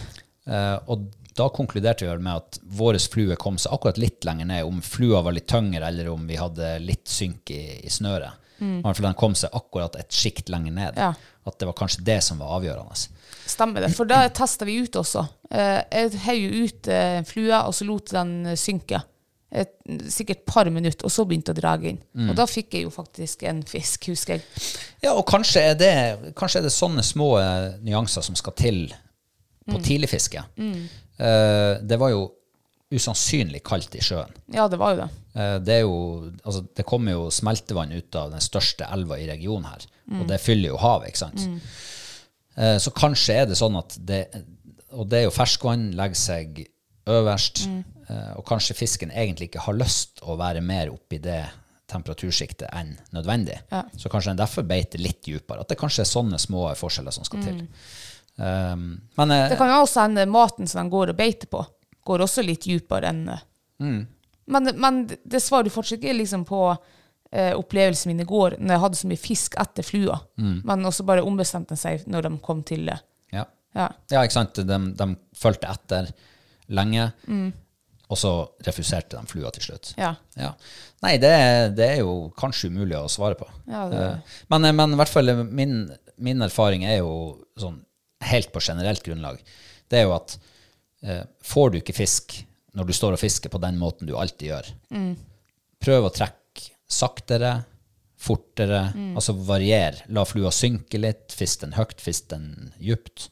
[SPEAKER 1] Eh, og da konkluderte vi vel med at vår flue kom seg akkurat litt lenger ned, om flua var litt tyngre, eller om vi hadde litt synk i, i snøret. I hvert fall den kom seg akkurat et sjikt lenger ned.
[SPEAKER 2] Ja.
[SPEAKER 1] At det var kanskje det som var avgjørende.
[SPEAKER 2] Stemmer det. For da testa vi ut også. Eh, jeg heiv jo ut eh, flua, og så lot den synke. Et, sikkert et par minutter, og så begynte å dra inn. Og da fikk jeg jo faktisk en fisk, husker jeg.
[SPEAKER 1] Ja, og kanskje er det, kanskje er det sånne små eh, nyanser som skal til på tidligfiske. Eh, det var jo usannsynlig kaldt i sjøen.
[SPEAKER 2] Ja, det var jo det.
[SPEAKER 1] Eh, Det, er jo, altså, det kommer jo smeltevann ut av den største elva i regionen her,
[SPEAKER 2] Mm.
[SPEAKER 1] og det fyller jo havet, ikke sant? Eh, Så kanskje er det sånn at det, og det er jo ferskvann, legger seg øverst,
[SPEAKER 2] Mm.
[SPEAKER 1] eh, og kanskje fisken egentlig ikke har lyst å være mer oppi det temperatursjiktet enn nødvendig. Så kanskje den derfor beiter litt dypere, at det kanskje er sånne små forskjeller som skal til. Um, men eh,
[SPEAKER 2] Mm. Det kan jo også hende maten som de går og beiter på, går også litt dypere enn eh.
[SPEAKER 1] Mm.
[SPEAKER 2] men, men det svarer jo fortsatt ikke liksom på eh, opplevelsen min i går, når jeg hadde så mye fisk etter flua.
[SPEAKER 1] Mm.
[SPEAKER 2] Men også bare ombestemte seg når de kom til det.
[SPEAKER 1] ja.
[SPEAKER 2] Ja.
[SPEAKER 1] Ja, ikke sant? De, de fulgte etter lenge, og så refuserte de flua til slutt.
[SPEAKER 2] Ja.
[SPEAKER 1] Ja. Nei, det, er- det er jo kanskje umulig å svare på.
[SPEAKER 2] Ja, det-
[SPEAKER 1] Eh, men, men i hvert fall eh, min, min erfaring er jo sånn helt på generelt grunnlag. Det er jo at eh, får du ikke fisk når du står og fisker på den måten du alltid gjør,
[SPEAKER 2] Mm.
[SPEAKER 1] prøv å trekke saktere, fortere,
[SPEAKER 2] Mm.
[SPEAKER 1] altså varier. La flua synke litt, fisk den høyt, fisk den djupt.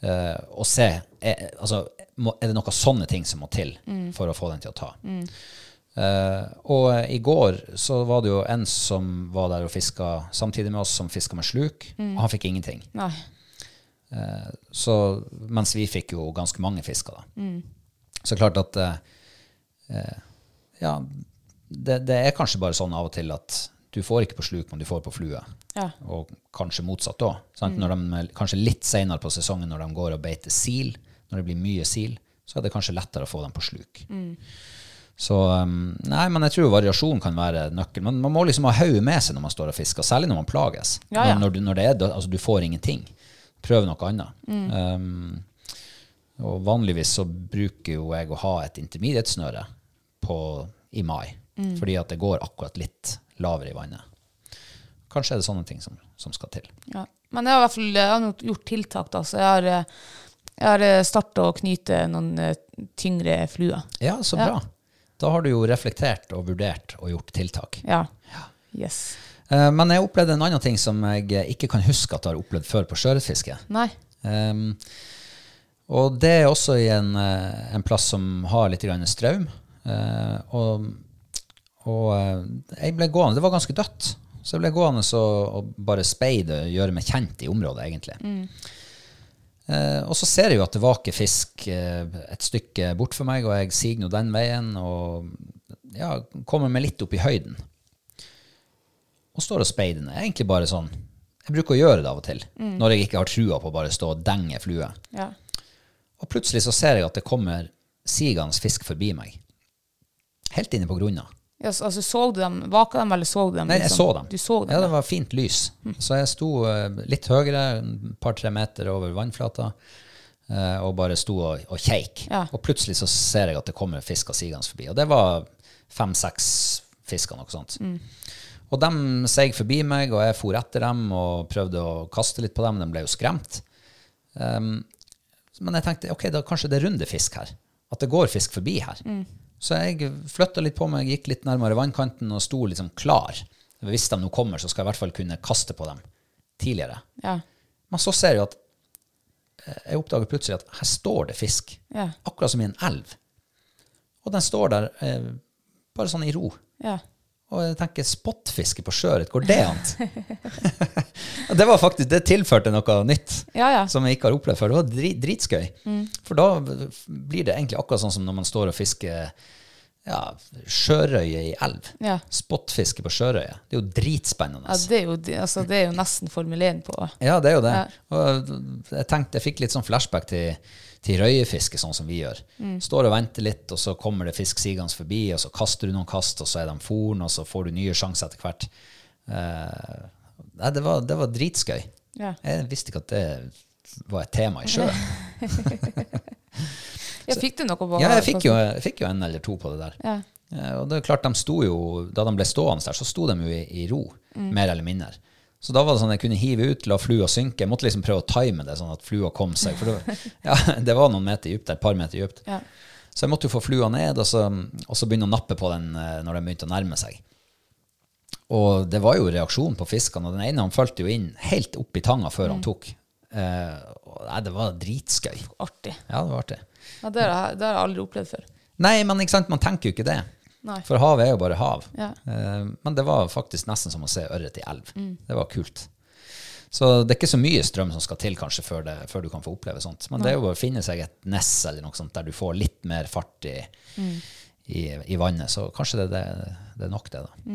[SPEAKER 1] Eh, og se, er, altså, må, er det noen sånne ting som må til
[SPEAKER 2] Mm.
[SPEAKER 1] for å få den til å ta? Eh, og eh, i går så var det jo en som var der og fiska samtidig med oss, som fiska med sluk, og han fikk ingenting.
[SPEAKER 2] Mm.
[SPEAKER 1] Eh,
[SPEAKER 2] Nei.
[SPEAKER 1] Så, mens vi fikk jo ganske mange fisker, da.
[SPEAKER 2] Mm.
[SPEAKER 1] Så klart at eh, eh, Ja, det, det er kanskje bare sånn av og til at du får ikke på sluk, men du får på flue.
[SPEAKER 2] Ja. Mm.
[SPEAKER 1] Og kanskje motsatt òg. Kanskje litt seinere på sesongen, når de går og beiter sil, når det blir mye sil, så er det kanskje lettere å få dem på sluk. Så um, Nei, men jeg tror variasjon kan være nøkkelen. Man, man må liksom ha hodet med seg når man står og fisker, særlig når man plages.
[SPEAKER 2] Ja, ja.
[SPEAKER 1] Når, når, du, når det er, dø- altså, du får ingenting. Prøv noe annet.
[SPEAKER 2] Mm.
[SPEAKER 1] Um, og vanligvis så bruker jo jeg å ha et intermediate-snøre på- i mai,
[SPEAKER 2] Mm.
[SPEAKER 1] fordi at det går akkurat litt lavere i vannet. Kanskje er det sånne ting som, som skal til.
[SPEAKER 2] Ja. Men jeg har i hvert fall jeg har nok gjort tiltak, da. Så jeg har, eh, jeg har starta å knyte noen eh, tyngre fluer.
[SPEAKER 1] Ja, så bra. Da har du jo reflektert og vurdert og gjort tiltak.
[SPEAKER 2] Ja. Yes.
[SPEAKER 1] Eh, Men jeg opplevde en annen ting som jeg eh, ikke kan huske at jeg har opplevd før på sjøørretfiske.
[SPEAKER 2] Nei.
[SPEAKER 1] Ehm, og det er også i en, eh, en plass som har litt grann strøm. Eh, og og eh, jeg ble gående, det var ganske dødt, så jeg ble gående og, og bare speide og gjøre meg kjent i området, egentlig. Eh, og så ser jeg jo at det vaker fisk eh, et stykke bort for meg, og jeg siger nå den veien og ja, kommer meg litt opp i høyden. Og står og speider ned. Egentlig bare sånn. Jeg bruker å gjøre det av og til, når jeg ikke har trua på å bare stå og denge flue.
[SPEAKER 2] Ja.
[SPEAKER 1] Og plutselig så ser jeg at det kommer sigende fisk forbi meg. Helt inne på grunna.
[SPEAKER 2] Ja, så, altså, så du dem? Vaka dem, eller så du dem?
[SPEAKER 1] Nei, jeg
[SPEAKER 2] liksom?
[SPEAKER 1] så dem.
[SPEAKER 2] Du så dem?
[SPEAKER 1] ja,
[SPEAKER 2] Ja, Mm.
[SPEAKER 1] det var fint lys. Så jeg sto eh, litt høyere, et par-tre meter over vannflata, eh, og bare sto og, og keik.
[SPEAKER 2] Ja.
[SPEAKER 1] Og plutselig så ser jeg at det kommer fisk og sigende forbi. Og det var fem-seks fisker, noe sånt.
[SPEAKER 2] Mm.
[SPEAKER 1] Og de seig forbi meg, og jeg for etter dem og prøvde å kaste litt på dem. De ble jo skremt. Um, men jeg tenkte ok, da kanskje det er runde fisk her. At det går fisk forbi her.
[SPEAKER 2] Mm.
[SPEAKER 1] Så jeg flytta litt på meg, gikk litt nærmere vannkanten og sto liksom klar. Hvis de nå kommer, så skal jeg i hvert fall kunne kaste på dem tidligere.
[SPEAKER 2] ja.
[SPEAKER 1] Men så ser jeg at eh, jeg oppdager plutselig at her står det fisk.
[SPEAKER 2] Ja.
[SPEAKER 1] Akkurat som i en elv. Og den står der eh, bare sånn i ro.
[SPEAKER 2] ja.
[SPEAKER 1] Og jeg tenker spottfiske på sjøørret, går
[SPEAKER 2] [laughs]
[SPEAKER 1] det an? [laughs] det var faktisk, det tilførte noe nytt
[SPEAKER 2] Ja, Mm. ja.
[SPEAKER 1] som jeg ikke har opplevd før. Det var dri, dritskøy. For da blir det egentlig akkurat sånn som når man står og fisker ja, sjørøye i elv.
[SPEAKER 2] Ja.
[SPEAKER 1] Spottfiske på sjørøye. Det er jo dritspennende.
[SPEAKER 2] Ja, det, er jo, altså, det er jo nesten Formel 1 på
[SPEAKER 1] Ja, det er jo det. Og jeg tenkte, jeg fikk litt sånn flashback til, til røyefiske, sånn som vi gjør.
[SPEAKER 2] Mm.
[SPEAKER 1] Står og venter litt, og så kommer det fisk sigende forbi, og så kaster du noen kast, og så er de forn, og så får du nye sjanser etter hvert. Eh, nei, det var, det var dritskøy.
[SPEAKER 2] Ja.
[SPEAKER 1] Jeg visste ikke at det var et
[SPEAKER 2] [laughs]
[SPEAKER 1] tema i sjøen.
[SPEAKER 2] Ja, fikk du noe på
[SPEAKER 1] Ja, jeg fikk jo, jeg fikk jo en eller to på det der.
[SPEAKER 2] Ja.
[SPEAKER 1] Eh, Og det er klart, de sto jo, da de ble stående der, så sto de jo i, i ro,
[SPEAKER 2] Mm.
[SPEAKER 1] mer eller mindre. Så da var det sånn jeg kunne hive ut, la flua synke. Jeg måtte liksom prøve å time det sånn at flua kom seg. For det,
[SPEAKER 2] [laughs]
[SPEAKER 1] var- ja, det var noen meter dypt der, et par meter dypt.
[SPEAKER 2] Ja.
[SPEAKER 1] Så jeg måtte jo få flua ned, og så, og så begynne å nappe på den eh, når den begynte å nærme seg. Og det var jo reaksjon på fiskene, og den ene han fulgte jo inn helt opp i tanga før
[SPEAKER 2] Mm.
[SPEAKER 1] han tok. Eh, og nei, det var dritskøy.
[SPEAKER 2] Artig.
[SPEAKER 1] Ja, det var artig.
[SPEAKER 2] Ja, det, har jeg, det har jeg aldri opplevd før.
[SPEAKER 1] Nei, men ikke sant, man tenker jo ikke det.
[SPEAKER 2] Nei.
[SPEAKER 1] For havet er jo bare hav.
[SPEAKER 2] Ja.
[SPEAKER 1] Eh, men det var faktisk nesten som å se ørret i elv.
[SPEAKER 2] Mm.
[SPEAKER 1] Det var kult. Så det er ikke så mye strøm som skal til kanskje før, det, før du kan få oppleve sånt. Men det er jo bare å finne seg et ness eller noe sånt der du får litt mer fart i,
[SPEAKER 2] Mm.
[SPEAKER 1] i, i vannet. Så kanskje det, er det, det er nok det, da.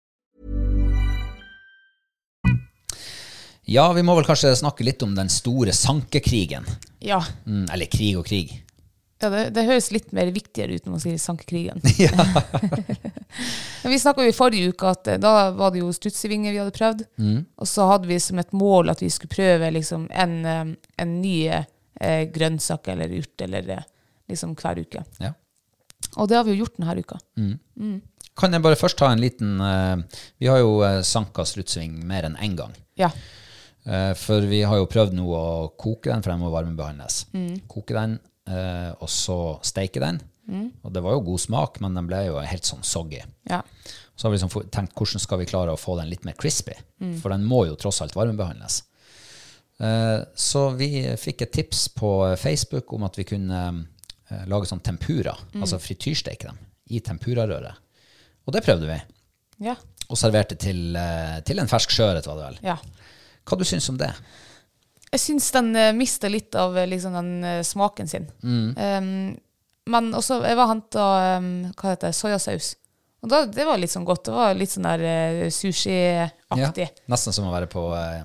[SPEAKER 1] Ja, vi må vel kanskje snakke litt om den store sankekrigen.
[SPEAKER 2] Ja.
[SPEAKER 1] Mm, eller krig og krig.
[SPEAKER 2] Ja, det, det høres litt mer viktigere ut når man sier sank
[SPEAKER 1] [laughs]
[SPEAKER 2] krigen. [laughs] Men vi snakka i forrige uke at eh, da var det jo strutsevinger vi hadde prøvd.
[SPEAKER 1] Mm.
[SPEAKER 2] Og så hadde vi som et mål at vi skulle prøve liksom en, eh, en ny eh, grønnsak eller urt eller eh, liksom hver uke.
[SPEAKER 1] Ja.
[SPEAKER 2] Og det har vi jo gjort denne uka.
[SPEAKER 1] Mm. Kan jeg bare først ta en liten eh, Vi har jo eh, sanka struttsving mer enn én gang.
[SPEAKER 2] Ja.
[SPEAKER 1] Eh, For vi har jo prøvd nå å koke den, for den må varmebehandles. Koke den, eh, og så steike den. Og det var jo god smak, men den ble jo helt sånn soggy.
[SPEAKER 2] ja.
[SPEAKER 1] Så har vi liksom fo- tenkt hvordan skal vi klare å få den litt mer crispy? For den må jo tross alt varmebehandles. Eh, Så vi fikk et tips på Facebook om at vi kunne eh, lage sånn tempura, altså frityrsteike dem i tempurarøret. Og det prøvde vi,
[SPEAKER 2] Ja.
[SPEAKER 1] og serverte til, eh, til en fersk sjøørret, var det vel.
[SPEAKER 2] ja.
[SPEAKER 1] Hva du syns om det?
[SPEAKER 2] Jeg syns den uh, mista litt av eh, liksom, den eh, smaken sin.
[SPEAKER 1] Mm.
[SPEAKER 2] Um, men også jeg var henta um, hva heter det, soyasaus. Og da, det var litt sånn godt. Det var litt sånn der eh, sushiaktig.
[SPEAKER 1] Ja, nesten som å være på eh,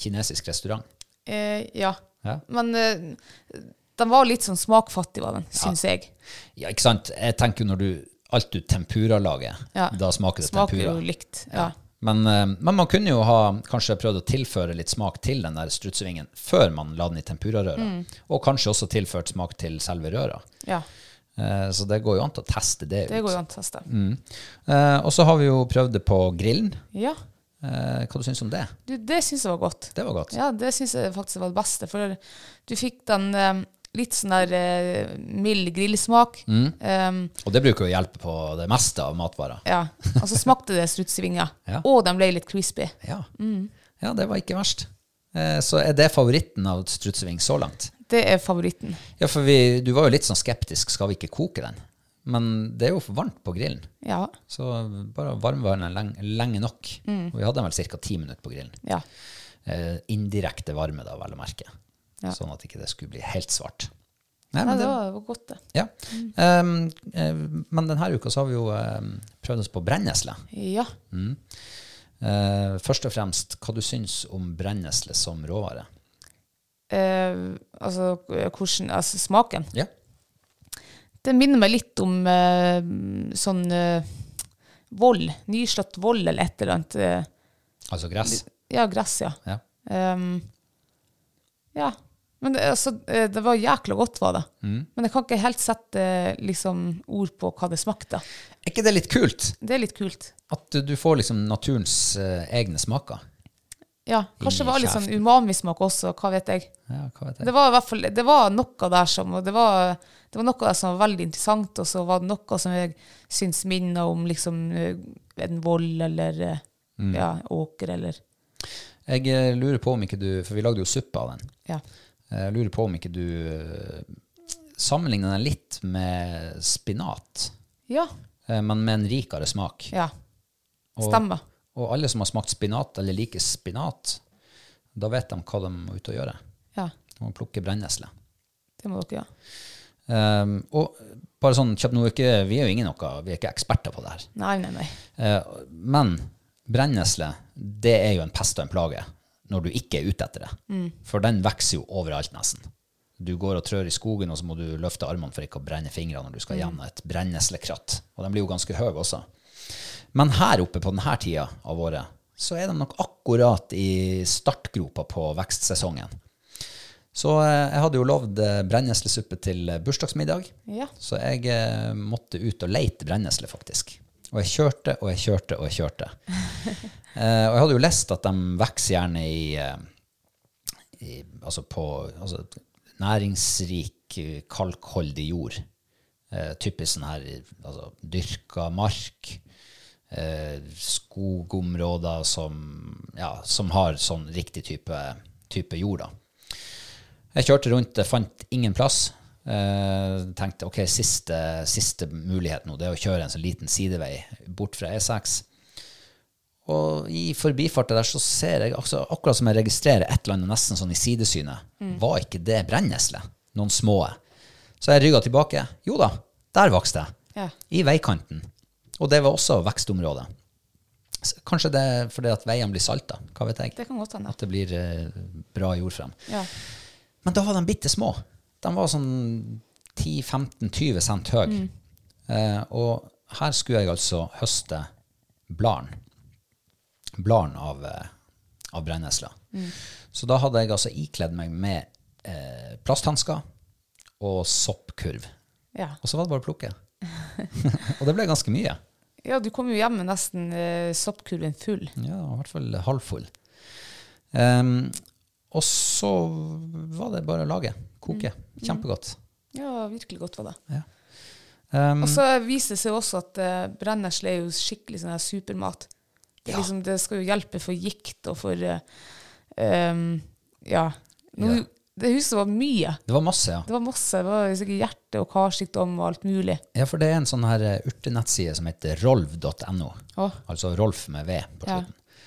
[SPEAKER 1] kinesisk restaurant.
[SPEAKER 2] Eh, ja.
[SPEAKER 1] Ja.
[SPEAKER 2] Men eh, den var litt sånn smakfattig, var den, syns jeg.
[SPEAKER 1] Ja, ikke sant? Jeg tenker jo når du alt du tempura lager,
[SPEAKER 2] Ja.
[SPEAKER 1] da smaker det
[SPEAKER 2] Smaker
[SPEAKER 1] tempura.
[SPEAKER 2] jo likt. Ja.
[SPEAKER 1] Men, eh, men man kunne jo ha kanskje prøvd å tilføre litt smak til den der strutsevingen før man la den i tempurarøra.
[SPEAKER 2] Mm.
[SPEAKER 1] Og kanskje også tilført smak til selve røra.
[SPEAKER 2] ja.
[SPEAKER 1] Eh, Så det går jo an til å teste det ut.
[SPEAKER 2] Det går jo an å teste.
[SPEAKER 1] Eh, Og så har vi jo prøvd det på grillen.
[SPEAKER 2] Ja.
[SPEAKER 1] Eh, Hva du syns om det?
[SPEAKER 2] Du, det syns jeg var godt.
[SPEAKER 1] Det var godt.
[SPEAKER 2] Ja, det syns jeg faktisk var det beste. For du fikk den eh, litt sånn der eh, mild grillsmak.
[SPEAKER 1] Mm.
[SPEAKER 2] Eh,
[SPEAKER 1] Og det bruker jo å hjelpe på det meste av matvarer.
[SPEAKER 2] ja. Og så smakte det strutsvinger.
[SPEAKER 1] [laughs] Ja.
[SPEAKER 2] Og den ble litt crispy.
[SPEAKER 1] Ja.
[SPEAKER 2] Mm.
[SPEAKER 1] ja, det var ikke verst. Eh, Så er det favoritten av strutseving så langt?
[SPEAKER 2] Det er favoritten.
[SPEAKER 1] Ja, for vi, du var jo litt sånn skeptisk, skal vi ikke koke den? Men det er jo for varmt på grillen,
[SPEAKER 2] Ja.
[SPEAKER 1] så bare varmvarme den lenge, lenge nok.
[SPEAKER 2] Mm.
[SPEAKER 1] Og vi hadde den vel ca. ti minutter på grillen.
[SPEAKER 2] ja.
[SPEAKER 1] Eh, indirekte varme, da, vel å merke.
[SPEAKER 2] Ja.
[SPEAKER 1] Sånn at ikke det skulle bli helt svart. Nei,
[SPEAKER 2] Nei,
[SPEAKER 1] men,
[SPEAKER 2] det
[SPEAKER 1] det,
[SPEAKER 2] var, det var godt, det.
[SPEAKER 1] ja. Ehm, eh, men denne uka så har vi jo eh, prøvd oss på brennesle. Mm.
[SPEAKER 2] Ja.
[SPEAKER 1] Eh, først og fremst, hva du syns om brennesle som råvare?
[SPEAKER 2] Eh, altså eh, hvordan Altså smaken.
[SPEAKER 1] Ja.
[SPEAKER 2] Det minner meg litt om eh, sånn eh, vold. Nyslått vold eller et eller annet. eh,
[SPEAKER 1] Altså gress?
[SPEAKER 2] Ja, gress, ja.
[SPEAKER 1] Ja.
[SPEAKER 2] Ehm, ja. Men det, altså, eh, det var jækla godt, var det. Men jeg kan ikke helt sette eh, liksom, ord på hva det smakte.
[SPEAKER 1] Er ikke det litt kult?
[SPEAKER 2] Det er litt kult.
[SPEAKER 1] At du- du får liksom naturens eh, egne smaker.
[SPEAKER 2] Ja, Kanskje det var litt sånn
[SPEAKER 1] kjeften.
[SPEAKER 2] umamismak også, hva vet jeg.
[SPEAKER 1] Ja, hva vet jeg.
[SPEAKER 2] Det var i hvert fall det var noe der som og det var, det var noe der som var veldig interessant, og så var det noe som jeg syns minner om liksom, eh, en vold eller eh, ja, åker eller
[SPEAKER 1] Jeg eh, lurer på om ikke du, for vi lagde jo suppe av den,
[SPEAKER 2] ja.
[SPEAKER 1] jeg lurer på om ikke du eh, sammenligner den litt med spinat,
[SPEAKER 2] Ja.
[SPEAKER 1] eh, men med en rikere smak.
[SPEAKER 2] ja. Stemmer.
[SPEAKER 1] Og alle som har smakt spinat, eller liker spinat, da vet de hva de må ut og gjøre.
[SPEAKER 2] Ja,
[SPEAKER 1] De må plukke brennesle.
[SPEAKER 2] det må dere gjøre.
[SPEAKER 1] Um, og bare sånn, kjapt nå, ikke, vi er jo ingen noe, vi er ikke eksperter på det her.
[SPEAKER 2] Nei, nei, nei.
[SPEAKER 1] Eh, Men brennesle, det er jo en pest og en plage når du ikke er ute etter det. For den vokser jo overalt nesten. Du går og trør i skogen, og så må du løfte armene for ikke å brenne fingrene når du skal gjennom et brenneslekratt. Og den blir jo ganske høy også. Men her oppe på denne tida av året, så er de nok akkurat i startgropa på vekstsesongen. Så eh, jeg hadde jo lovd eh, brenneslesuppe til eh, bursdagsmiddag.
[SPEAKER 2] Ja.
[SPEAKER 1] Så jeg eh, måtte ut og leite brennesle, faktisk. Og jeg kjørte og jeg kjørte og jeg kjørte. eh, og jeg hadde jo lest at de vokser gjerne i, eh, i Altså på altså, næringsrik, eh, kalkholdig jord. Eh, typisk sånn her altså, dyrka mark. Eh, skogområder som, ja, som har sånn riktig type, type jord, da. Jeg kjørte rundt, jeg fant ingen plass. Eh, tenkte ok, siste, siste mulighet nå, det er å kjøre en sånn liten sidevei bort fra E6. Og i forbifartet der så ser jeg, altså, akkurat som jeg registrerer et eller annet nesten sånn i sidesynet, var ikke det brennesle? Noen små. Så jeg rygga tilbake. Jo da, der vokste jeg.
[SPEAKER 2] Ja.
[SPEAKER 1] I veikanten. Og det var også vekstområdet. Så Kanskje det er fordi at veiene blir salta. Hva vet jeg.
[SPEAKER 2] Det kan godt hende.
[SPEAKER 1] At det blir eh, bra jord frem.
[SPEAKER 2] Ja.
[SPEAKER 1] Men da var de bitte små. De var sånn 10-15-20 cent høy.
[SPEAKER 2] Mm.
[SPEAKER 1] Eh, og her skulle jeg altså høste bladene bladene av, eh, av brennesla.
[SPEAKER 2] Mm.
[SPEAKER 1] Så da hadde jeg altså ikledd meg med eh, plasthansker og soppkurv.
[SPEAKER 2] Ja.
[SPEAKER 1] Og så var det bare å
[SPEAKER 2] [laughs]
[SPEAKER 1] plukke. og det ble ganske mye.
[SPEAKER 2] ja, du kom jo hjem med nesten eh, soppkurven full.
[SPEAKER 1] Ja, i hvert fall halvfull. Ehm, og så var det bare å lage. Koke.
[SPEAKER 2] Mm.
[SPEAKER 1] Kjempegodt.
[SPEAKER 2] Ja, virkelig godt var det.
[SPEAKER 1] Ja. Ehm,
[SPEAKER 2] Og så viser det seg også at eh, brennesle er jo skikkelig sånn her supermat. Det, er liksom, det skal jo hjelpe for gikt og for eh, um, Ja. Nå,
[SPEAKER 1] Ja.
[SPEAKER 2] Det huset var mye.
[SPEAKER 1] det var masse, ja.
[SPEAKER 2] Det var masse. Det var sikkert hjerte- og karsykdom og alt mulig.
[SPEAKER 1] Ja, for det er en sånn her eh, urtenettside som heter rolv.no.
[SPEAKER 2] Å.
[SPEAKER 1] Altså Rolf med V på
[SPEAKER 2] Ja.
[SPEAKER 1] slutten.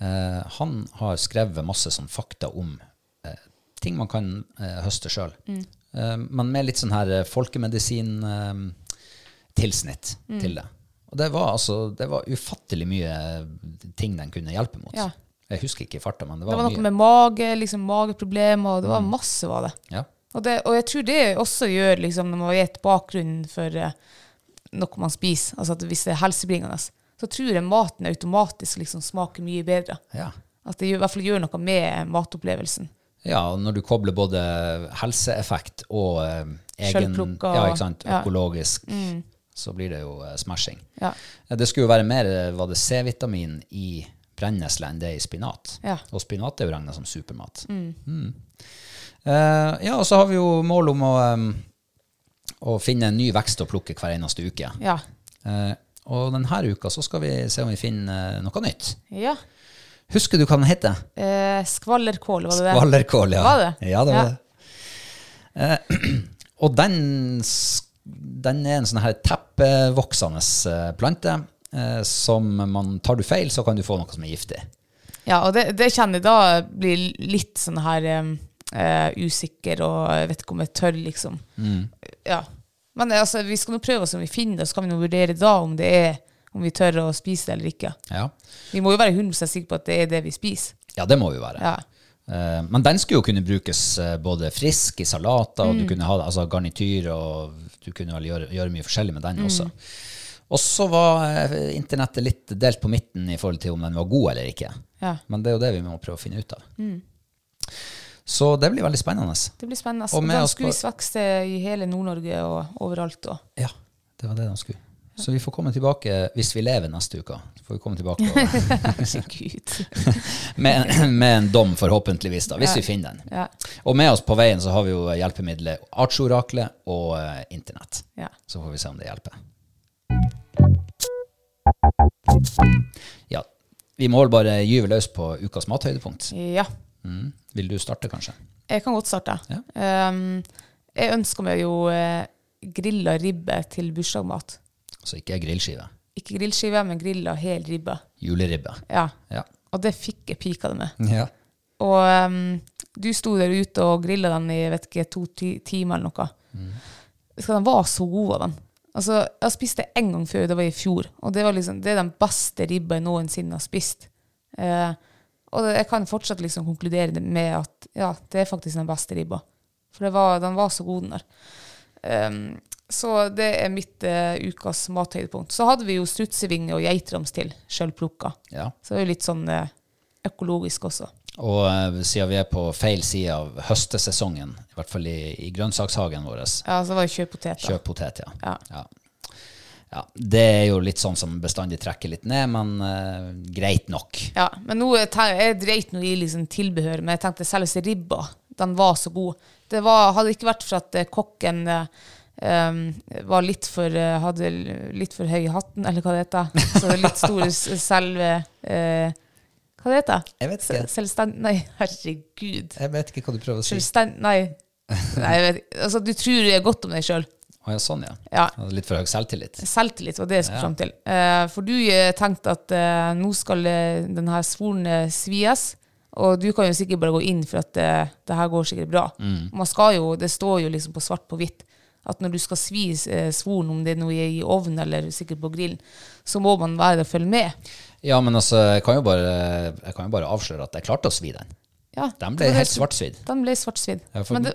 [SPEAKER 1] Eh, han har skrevet masse sånn fakta om eh, ting man kan eh, høste sjøl.
[SPEAKER 2] Mm.
[SPEAKER 1] Eh, men med litt sånn her eh, folkemedisin-tilsnitt
[SPEAKER 2] Mm.
[SPEAKER 1] til det. Og det var altså det var ufattelig mye eh, ting den kunne hjelpe mot.
[SPEAKER 2] Ja.
[SPEAKER 1] Jeg husker ikke i farta, men det
[SPEAKER 2] Det
[SPEAKER 1] var,
[SPEAKER 2] var noe
[SPEAKER 1] mye. Mm.
[SPEAKER 2] med mage, liksom mageproblemer, og det var masse, var det.
[SPEAKER 1] Ja.
[SPEAKER 2] Og, det, og jeg tror det også gjør liksom, når man vet bakgrunnen for eh, noe man spiser, altså at hvis det er helsebringende, så tror jeg maten automatisk liksom, smaker mye bedre.
[SPEAKER 1] Ja.
[SPEAKER 2] At det gjør, i hvert fall gjør noe med matopplevelsen.
[SPEAKER 1] Ja, og når du kobler både helseeffekt og eh, egen
[SPEAKER 2] Selvplukka,
[SPEAKER 1] ja, ikke sant,
[SPEAKER 2] ja. Mm.
[SPEAKER 1] økologisk, så blir det jo eh, smashing.
[SPEAKER 2] Ja.
[SPEAKER 1] Eh, Det skulle jo være mer eh, var det C-vitamin i brennesle enn det i spinat.
[SPEAKER 2] Ja.
[SPEAKER 1] Og spinat er jo regna som supermat. Mm. Eh, ja, og så har vi jo mål om å, eh, å finne en ny vekst å plukke hver eneste uke.
[SPEAKER 2] Ja.
[SPEAKER 1] Eh, og denne uka så skal vi se om vi finner eh, noe nytt.
[SPEAKER 2] ja.
[SPEAKER 1] Husker du hva den heter?
[SPEAKER 2] Eh, skvallerkål, var det det?
[SPEAKER 1] Skvallerkål, ja.
[SPEAKER 2] Var det?
[SPEAKER 1] Ja, det var
[SPEAKER 2] Ja.
[SPEAKER 1] det. Eh, [clears throat] og den, s- den er en sånn her teppevoksende eh, plante eh, som man Tar du feil, så kan du få noe som er giftig.
[SPEAKER 2] Ja, og det, det kjenner jeg da blir litt sånn her eh, eh, usikker og jeg vet ikke om jeg tør, liksom. Ja. Men eh, altså, vi skal nå prøve oss om vi finner det, så kan vi nå vurdere da om det er om vi tør å spise det eller ikke.
[SPEAKER 1] Ja,
[SPEAKER 2] Vi må jo være 100 sikre på at det er det vi spiser.
[SPEAKER 1] ja det må jo være.
[SPEAKER 2] Ja.
[SPEAKER 1] Eh, men den skulle jo kunne brukes eh, både frisk i salater, og
[SPEAKER 2] Mm.
[SPEAKER 1] du kunne ha det- altså garnityr, og du kunne vel gjøre, gjøre mye forskjellig med
[SPEAKER 2] Mm.
[SPEAKER 1] den også. Og så var eh, internettet litt delt på midten i forhold til om den var god eller ikke.
[SPEAKER 2] Ja. Mm.
[SPEAKER 1] Men det er jo det vi må prøve å finne ut av. Så det blir veldig spennende.
[SPEAKER 2] Det blir spennende.
[SPEAKER 1] Og med
[SPEAKER 2] Den
[SPEAKER 1] oss på-
[SPEAKER 2] skulle vi vokse i hele Nord-Norge og overalt. Og.
[SPEAKER 1] Ja, det var det de skulle. Så vi får komme tilbake, hvis vi lever neste uke, så får vi komme tilbake
[SPEAKER 2] [laughs]
[SPEAKER 1] og,
[SPEAKER 2] Gud.
[SPEAKER 1] med, en- med en dom forhåpentligvis, da, hvis vi finner den.
[SPEAKER 2] Ja.
[SPEAKER 1] Og med oss på veien så har vi jo hjelpemiddelet Artsoraklet og eh, internett.
[SPEAKER 2] Ja.
[SPEAKER 1] Så får vi se om det hjelper. Ja, vi må vel bare gyve løs på ukas mathøydepunkt.
[SPEAKER 2] ja.
[SPEAKER 1] Mm. Vil du starte, kanskje?
[SPEAKER 2] Jeg kan godt starte. Um, jeg ønsker meg jo eh, grilla ribbe til bursdagsmat.
[SPEAKER 1] Så ikke grillskive.
[SPEAKER 2] Ikke grillskive, men grilla hel ribbe.
[SPEAKER 1] Juleribbe.
[SPEAKER 2] Ja.
[SPEAKER 1] Ja.
[SPEAKER 2] Og det fikk jeg pika det med.
[SPEAKER 1] ja.
[SPEAKER 2] Og um, du sto der ute og grilla den i vet ikke, to ti timer eller noe. Så den var så god av den. Altså, jeg spiste det én gang før, det var i fjor. Og det, var liksom, det er den beste ribba jeg noensinne har spist. Eh, og det, jeg kan fortsatt liksom konkludere det med at ja, det er faktisk den beste ribba. For det var, den var så god, den der. Ehm, så det er mitt eh, ukas mathøydepunkt. Så hadde vi jo strutsevinger og geitrams til, sjølplukka.
[SPEAKER 1] Ja.
[SPEAKER 2] Så det er jo litt sånn eh, økologisk også.
[SPEAKER 1] Og eh, siden vi er på feil side av høstesesongen, i hvert fall i, i grønnsakshagen vår,
[SPEAKER 2] Ja, så var det kjøttpoteter.
[SPEAKER 1] kjøp potet, ja.
[SPEAKER 2] Ja.
[SPEAKER 1] Ja. Ja, Det er jo litt sånn som bestandig trekker litt ned, men eh, greit nok.
[SPEAKER 2] Ja, men nå, eh, jeg ten- jeg dreit nå i liksom tilbehør, men jeg tenkte selveste ribba, den var så god. Det var, hadde ikke vært for at eh, kokken eh, em, var litt for, eh, hadde l- litt for høy i hatten, eller hva det heter. Så litt store s- selve... eh, hva det heter?
[SPEAKER 1] Jeg vet ikke.
[SPEAKER 2] Se- Selvstend... Nei, herregud.
[SPEAKER 1] Jeg vet ikke hva du prøver å si.
[SPEAKER 2] Selvstend... Nei. Nei, jeg vet ikke. Altså, du tror godt om deg selv.
[SPEAKER 1] Å ja, sånn, ja.
[SPEAKER 2] Ja.
[SPEAKER 1] Jeg hadde Litt for høy selvtillit.
[SPEAKER 2] Selvtillit var det jeg skulle fram til. Eh, for du eh, tenkte at eh, nå skal eh, den her svoren eh, svies, og du kan jo sikkert bare gå inn for at eh, det her går sikkert bra.
[SPEAKER 1] Mm.
[SPEAKER 2] Man skal jo, Det står jo liksom på svart på hvitt at når du skal svi eh, svoren, om det er noe i ovnen eller sikkert på grillen, så må man være der og følge med.
[SPEAKER 1] Ja, men altså, jeg kan jo bare, jeg kan jo bare avsløre at jeg klarte å svi den.
[SPEAKER 2] Ja,
[SPEAKER 1] Den
[SPEAKER 2] det
[SPEAKER 1] ble
[SPEAKER 2] var
[SPEAKER 1] helt
[SPEAKER 2] det-
[SPEAKER 1] svartsvidd.
[SPEAKER 2] Den ble svartsvidd.
[SPEAKER 1] Ja, for-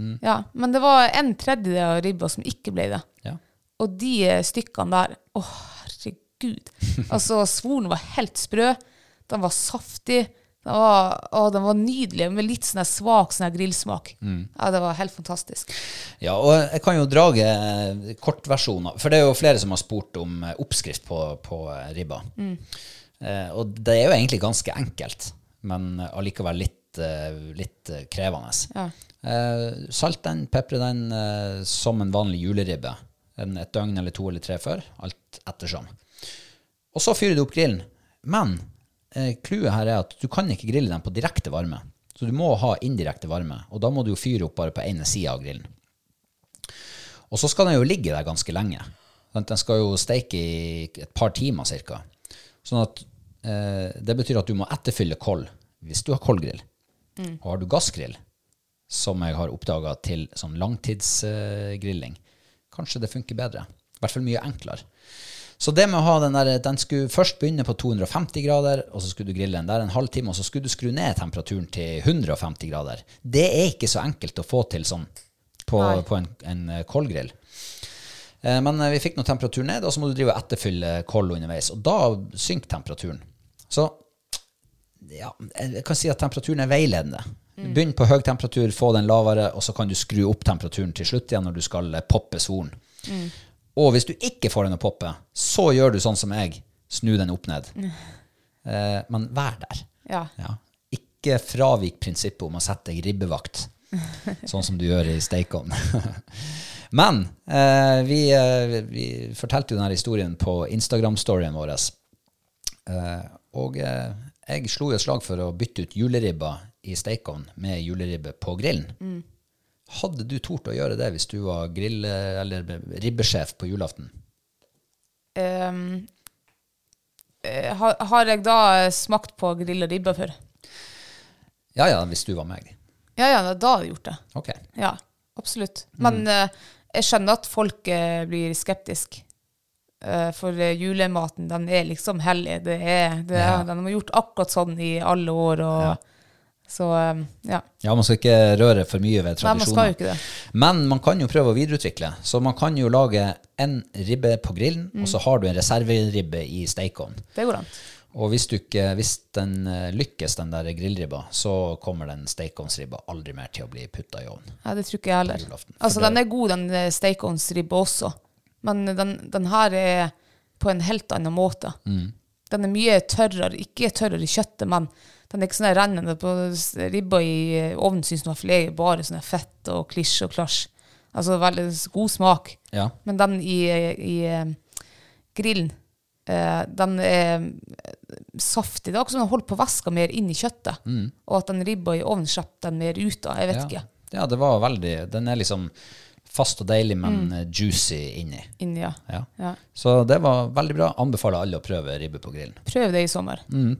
[SPEAKER 1] Mm.
[SPEAKER 2] Men det, Ja, men det var en tredjedel av ribba som ikke ble det.
[SPEAKER 1] Ja.
[SPEAKER 2] Og de eh, stykkene der, å herregud. Altså, svoren var helt sprø. Den var saftig. Den var, å, den var nydelig, med litt sånn her svak sånn her grillsmak. Ja, det var helt fantastisk.
[SPEAKER 1] Ja, og jeg kan jo drage eh, kortversjoner, for det er jo flere som har spurt om eh, oppskrift på, på eh, ribba. Eh, og det er jo egentlig ganske enkelt, men eh, allikevel litt, eh, litt eh, krevende. Eh, salt den, pepre den eh, som en vanlig juleribbe. En, et døgn eller to eller tre før, alt ettersom. Og så fyrer du opp grillen. Men eh, clouet her er at du kan ikke grille den på direkte varme. Så du må ha indirekte varme, og da må du jo fyre opp bare på ene sida av grillen. Og så skal den jo ligge der ganske lenge. Sant? Den skal jo steike i et par timer cirka. Sånn at eh, det betyr at du må etterfylle koll hvis du har kollgrill. Og har du gassgrill, som jeg har oppdaga til sånn langtidsgrilling, kanskje det funker bedre. I hvert fall mye enklere. Så det med å ha den der, den skulle først begynne på 250 grader, og så skulle du grille den der en halvtime, og så skulle du skru ned temperaturen til 150 grader. Det er ikke så enkelt å få til sånn på, på en, en eh, koldgrill. Eh, Men eh, vi fikk noe temperatur ned, og så må du drive og etterfylle kold underveis. Og da synker temperaturen. Så ja, jeg kan si at temperaturen er veiledende. Begynn på høy temperatur, få den lavere, og så kan du skru opp temperaturen til slutt igjen når du skal eh, poppe svoren. Og hvis du ikke får den å poppe, så gjør du sånn som jeg, snu den opp ned. Eh, Men vær der.
[SPEAKER 2] Ja.
[SPEAKER 1] Ja. Ikke fravik prinsippet om å sette deg
[SPEAKER 2] [laughs]
[SPEAKER 1] ribbevakt, sånn som du gjør i Steikon. [laughs] Men eh, vi, eh, vi fortalte jo denne historien på Instagram-storyen vår. Eh, og eh, jeg slo jo et slag for å bytte ut juleribba i Steikon med juleribbe på grillen.
[SPEAKER 2] Mm.
[SPEAKER 1] Hadde du tort å gjøre det hvis du var grill- eller ribbesjef på julaften?
[SPEAKER 2] Ehm, eh, har, har jeg da eh, smakt på grilla ribba før?
[SPEAKER 1] Ja ja, hvis du var meg.
[SPEAKER 2] Ja, ja, da- da har jeg gjort det.
[SPEAKER 1] Ok.
[SPEAKER 2] Ja, absolutt.
[SPEAKER 1] Mm.
[SPEAKER 2] Men eh, jeg skjønner at folk eh, blir skeptiske. for eh, julematen, den er liksom hellig. Det er, det er,
[SPEAKER 1] Ja.
[SPEAKER 2] Den har gjort akkurat sånn i alle år. Og,
[SPEAKER 1] Ja.
[SPEAKER 2] Så eh, ja.
[SPEAKER 1] Ja, man skal ikke røre for mye ved
[SPEAKER 2] Nei, man
[SPEAKER 1] tradisjoner.
[SPEAKER 2] skal jo ikke det.
[SPEAKER 1] Men man kan jo prøve å videreutvikle. Så man kan jo lage en ribbe på grillen, og
[SPEAKER 2] Mm.
[SPEAKER 1] så har du en reserveribbe i steikovnen.
[SPEAKER 2] Det går an.
[SPEAKER 1] Og hvis, du ikke, hvis den eh, lykkes, den der grillribba, så kommer den steikovnsribba aldri mer til å bli putta i ovnen.
[SPEAKER 2] Ja, det tror ikke jeg heller.
[SPEAKER 1] julaften. For
[SPEAKER 2] Altså,
[SPEAKER 1] det-
[SPEAKER 2] den er god, den eh, steikovnsribba også. Men den, den her er på en helt annen måte.
[SPEAKER 1] Mm.
[SPEAKER 2] Den er mye tørrere. Ikke tørrere i kjøttet, men den er ikke sånn her rennende på s- ribba i eh, ovnen. Syns den var filet, bare sånn her fett og klisj og klasj. Altså veldig s- god smak.
[SPEAKER 1] Ja.
[SPEAKER 2] Men den i, i eh, grillen, eh, den er eh, saftig. Det er akkurat som den holder på væska mer inn i kjøttet. Og at den ribba i ovnen slipper den mer ut av. Jeg vet
[SPEAKER 1] Mm. ja.
[SPEAKER 2] ikke.
[SPEAKER 1] Ja, det var veldig Den er liksom fast og deilig, men
[SPEAKER 2] Mm.
[SPEAKER 1] eh, juicy inni.
[SPEAKER 2] Inni, ja.
[SPEAKER 1] Ja.
[SPEAKER 2] Ja.
[SPEAKER 1] Så det var veldig bra. Anbefaler alle å prøve ribbe på grillen.
[SPEAKER 2] Prøv det i sommer.
[SPEAKER 1] Mm.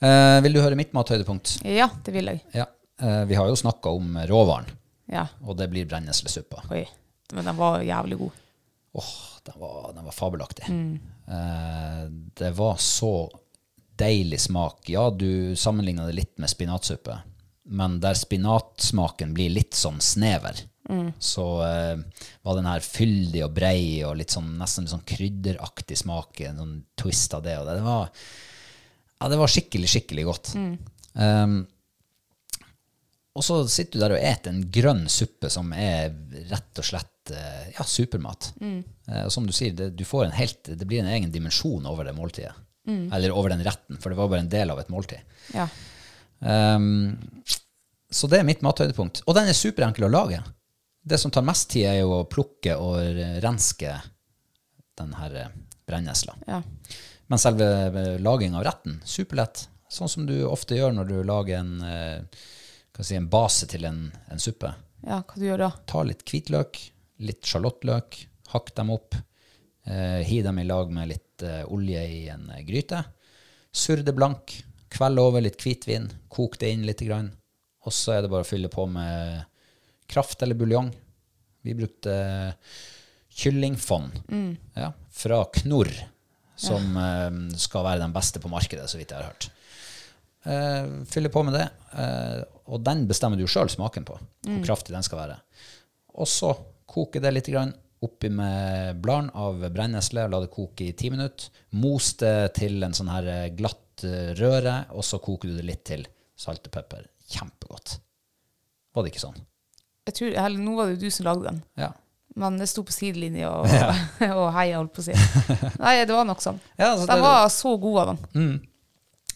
[SPEAKER 1] Eh, vil du høre mitt mathøydepunkt?
[SPEAKER 2] Ja, det vil jeg.
[SPEAKER 1] Ja. Eh, vi har jo snakka om råvaren,
[SPEAKER 2] Ja.
[SPEAKER 1] og det blir brenneslesuppa.
[SPEAKER 2] Oi. Men den var jævlig god.
[SPEAKER 1] Åh, den var, den var fabelaktig. Eh, det var så deilig smak. Ja, du sammenligna det litt med spinatsuppe, men der spinatsmaken blir litt sånn snever, så eh, var den her fyldig og brei og litt sånn, nesten litt sånn krydderaktig smak, en sånn twist av det og det. Det var, ja, det var skikkelig, skikkelig godt. Eh, og så sitter du der og eter en grønn suppe som er rett og slett eh, ja, supermat. Eh, Og som du sier, det, du får en helt, det blir en egen dimensjon over det måltidet. Eller over den retten, for det var bare en del av et måltid.
[SPEAKER 2] Ja.
[SPEAKER 1] Ehm, så det er mitt mathøydepunkt. Og den er superenkel å lage. Det som tar mest tid, er jo å plukke og renske den her eh, brennesla.
[SPEAKER 2] Ja.
[SPEAKER 1] Men selve eh, laging av retten, superlett. Sånn som du ofte gjør når du lager en, eh, hva skal jeg si, en base til en, en suppe.
[SPEAKER 2] ja, hva du gjør da?
[SPEAKER 1] Ta litt hvitløk, litt sjalottløk, hakk dem opp. Eh, hi dem i lag med litt eh, olje i en eh, gryte. Surr det blank. Kveld over litt hvitvin. Kok det inn litt. Grann. Og så er det bare å fylle på med kraft eller buljong. Vi brukte eh, kyllingfond ja, fra Knorr, som eh, skal være den beste på markedet, så vidt jeg har hørt. eh, fyller på med det, eh, og den bestemmer du sjøl smaken på, hvor
[SPEAKER 2] Mm.
[SPEAKER 1] kraftig den skal være. Og så koke det litt grann oppi med bladene av brennesle, la det koke i ti minutter. Mos det til en sånn her eh, glatt eh, røre, og så koker du det litt til. Salt og pepper. Kjempegodt. Var det ikke sånn?
[SPEAKER 2] Jeg tror, eller, nå var det jo du som lagde den,
[SPEAKER 1] Ja.
[SPEAKER 2] men jeg sto på sidelinja og, [laughs] og heia, holdt på å si. Nei, det var nok sånn.
[SPEAKER 1] Ja, altså, det-
[SPEAKER 2] den var så god av den.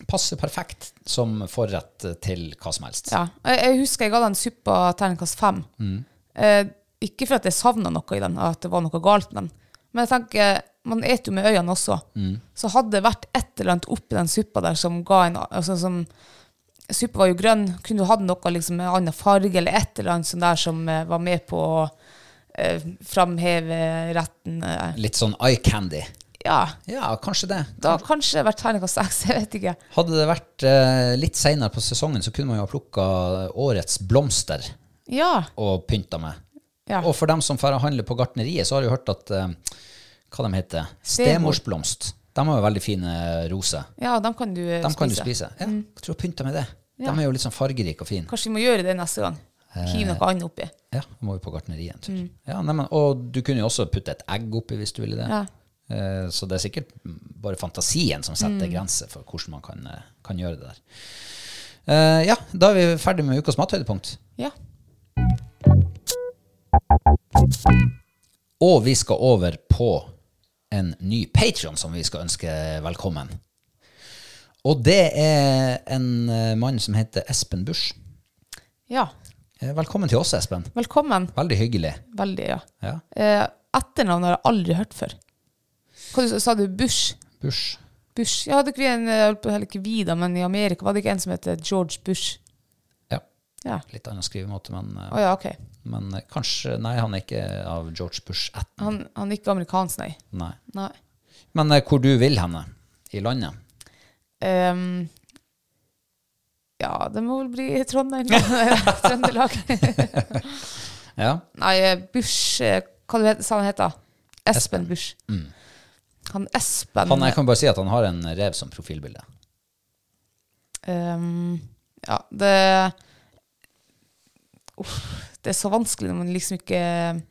[SPEAKER 1] Passer perfekt som forrett eh, til hva som helst.
[SPEAKER 2] Ja. Jeg, jeg husker jeg ga den suppa terningkast fem. Eh, ikke for at jeg savna noe i den, at det var noe galt med den. Men jeg tenker, man eter jo med øynene også. Så hadde det vært et eller annet oppi den suppa der som ga en altså som, Suppa var jo grønn. Kunne du hatt noe liksom, med en annen farge eller et eller annet sånn der som eh, var med på å eh, framheve retten? Eh.
[SPEAKER 1] Litt sånn eye candy.
[SPEAKER 2] Ja.
[SPEAKER 1] Ja, kanskje det.
[SPEAKER 2] Da kanskje det vært terningkast seks, [laughs] jeg vet ikke.
[SPEAKER 1] Hadde det vært eh, litt seinere på sesongen, så kunne man jo ha plukka årets blomster
[SPEAKER 2] Ja.
[SPEAKER 1] og pynta med.
[SPEAKER 2] ja.
[SPEAKER 1] Og for dem som får handle på gartneriet, så har jeg hørt at eh, Hva de heter
[SPEAKER 2] Stemor.
[SPEAKER 1] Stemorsblomst. De har jo veldig fine roser.
[SPEAKER 2] ja, dem kan du eh,
[SPEAKER 1] De kan du
[SPEAKER 2] spise.
[SPEAKER 1] spise. Ja, jeg tror jeg pynta med det. De er jo litt sånn fargerike og fine.
[SPEAKER 2] Kanskje vi må gjøre det neste gang. Hiv noe annet oppi.
[SPEAKER 1] Ja, da må vi på gartneriet en tur. Ja, nei, men, og du kunne jo også putte et egg oppi hvis du ville det.
[SPEAKER 2] Ja.
[SPEAKER 1] Eh, Så det er sikkert bare fantasien som setter grenser for hvordan man kan, eh, kan gjøre det der. Eh, Ja, da er vi ferdig med ukas mathøydepunkt.
[SPEAKER 2] Ja.
[SPEAKER 1] Og vi skal over på en ny Patreon som vi skal ønske velkommen. Og det er en eh, mann som heter Espen Busch.
[SPEAKER 2] ja.
[SPEAKER 1] Eh, Velkommen til oss, Espen.
[SPEAKER 2] Velkommen.
[SPEAKER 1] Veldig hyggelig.
[SPEAKER 2] Veldig, ja.
[SPEAKER 1] Ja,
[SPEAKER 2] Eh, etternavn har jeg aldri hørt før. Hva du, sa du? Bush?
[SPEAKER 1] Busch.
[SPEAKER 2] Bush? Ja, hadde ikke vi en, eh, holdt på- eller ikke vi da, men i Amerika var det ikke en som heter George Bush?
[SPEAKER 1] Ja,
[SPEAKER 2] Ja.
[SPEAKER 1] litt annen skrivemåte, men, eh,
[SPEAKER 2] Å ja, ok.
[SPEAKER 1] men eh, kanskje Nei, han er ikke av George Bush ætten.
[SPEAKER 2] Han, han er ikke amerikansk, nei.
[SPEAKER 1] Nei.
[SPEAKER 2] nei.
[SPEAKER 1] Men eh, hvor du vil henne i landet?
[SPEAKER 2] Ehm, ja, det må vel bli Trondheim. [laughs] Trøndelag.
[SPEAKER 1] Ja.
[SPEAKER 2] nei, eh, Bush eh, Hva het- sa han het da? Espen Bush. Han Espen
[SPEAKER 1] Han, jeg kan bare si at han har en rev som profilbilde.
[SPEAKER 2] Ehm, ja, det Uff, Det er så vanskelig når man liksom ikke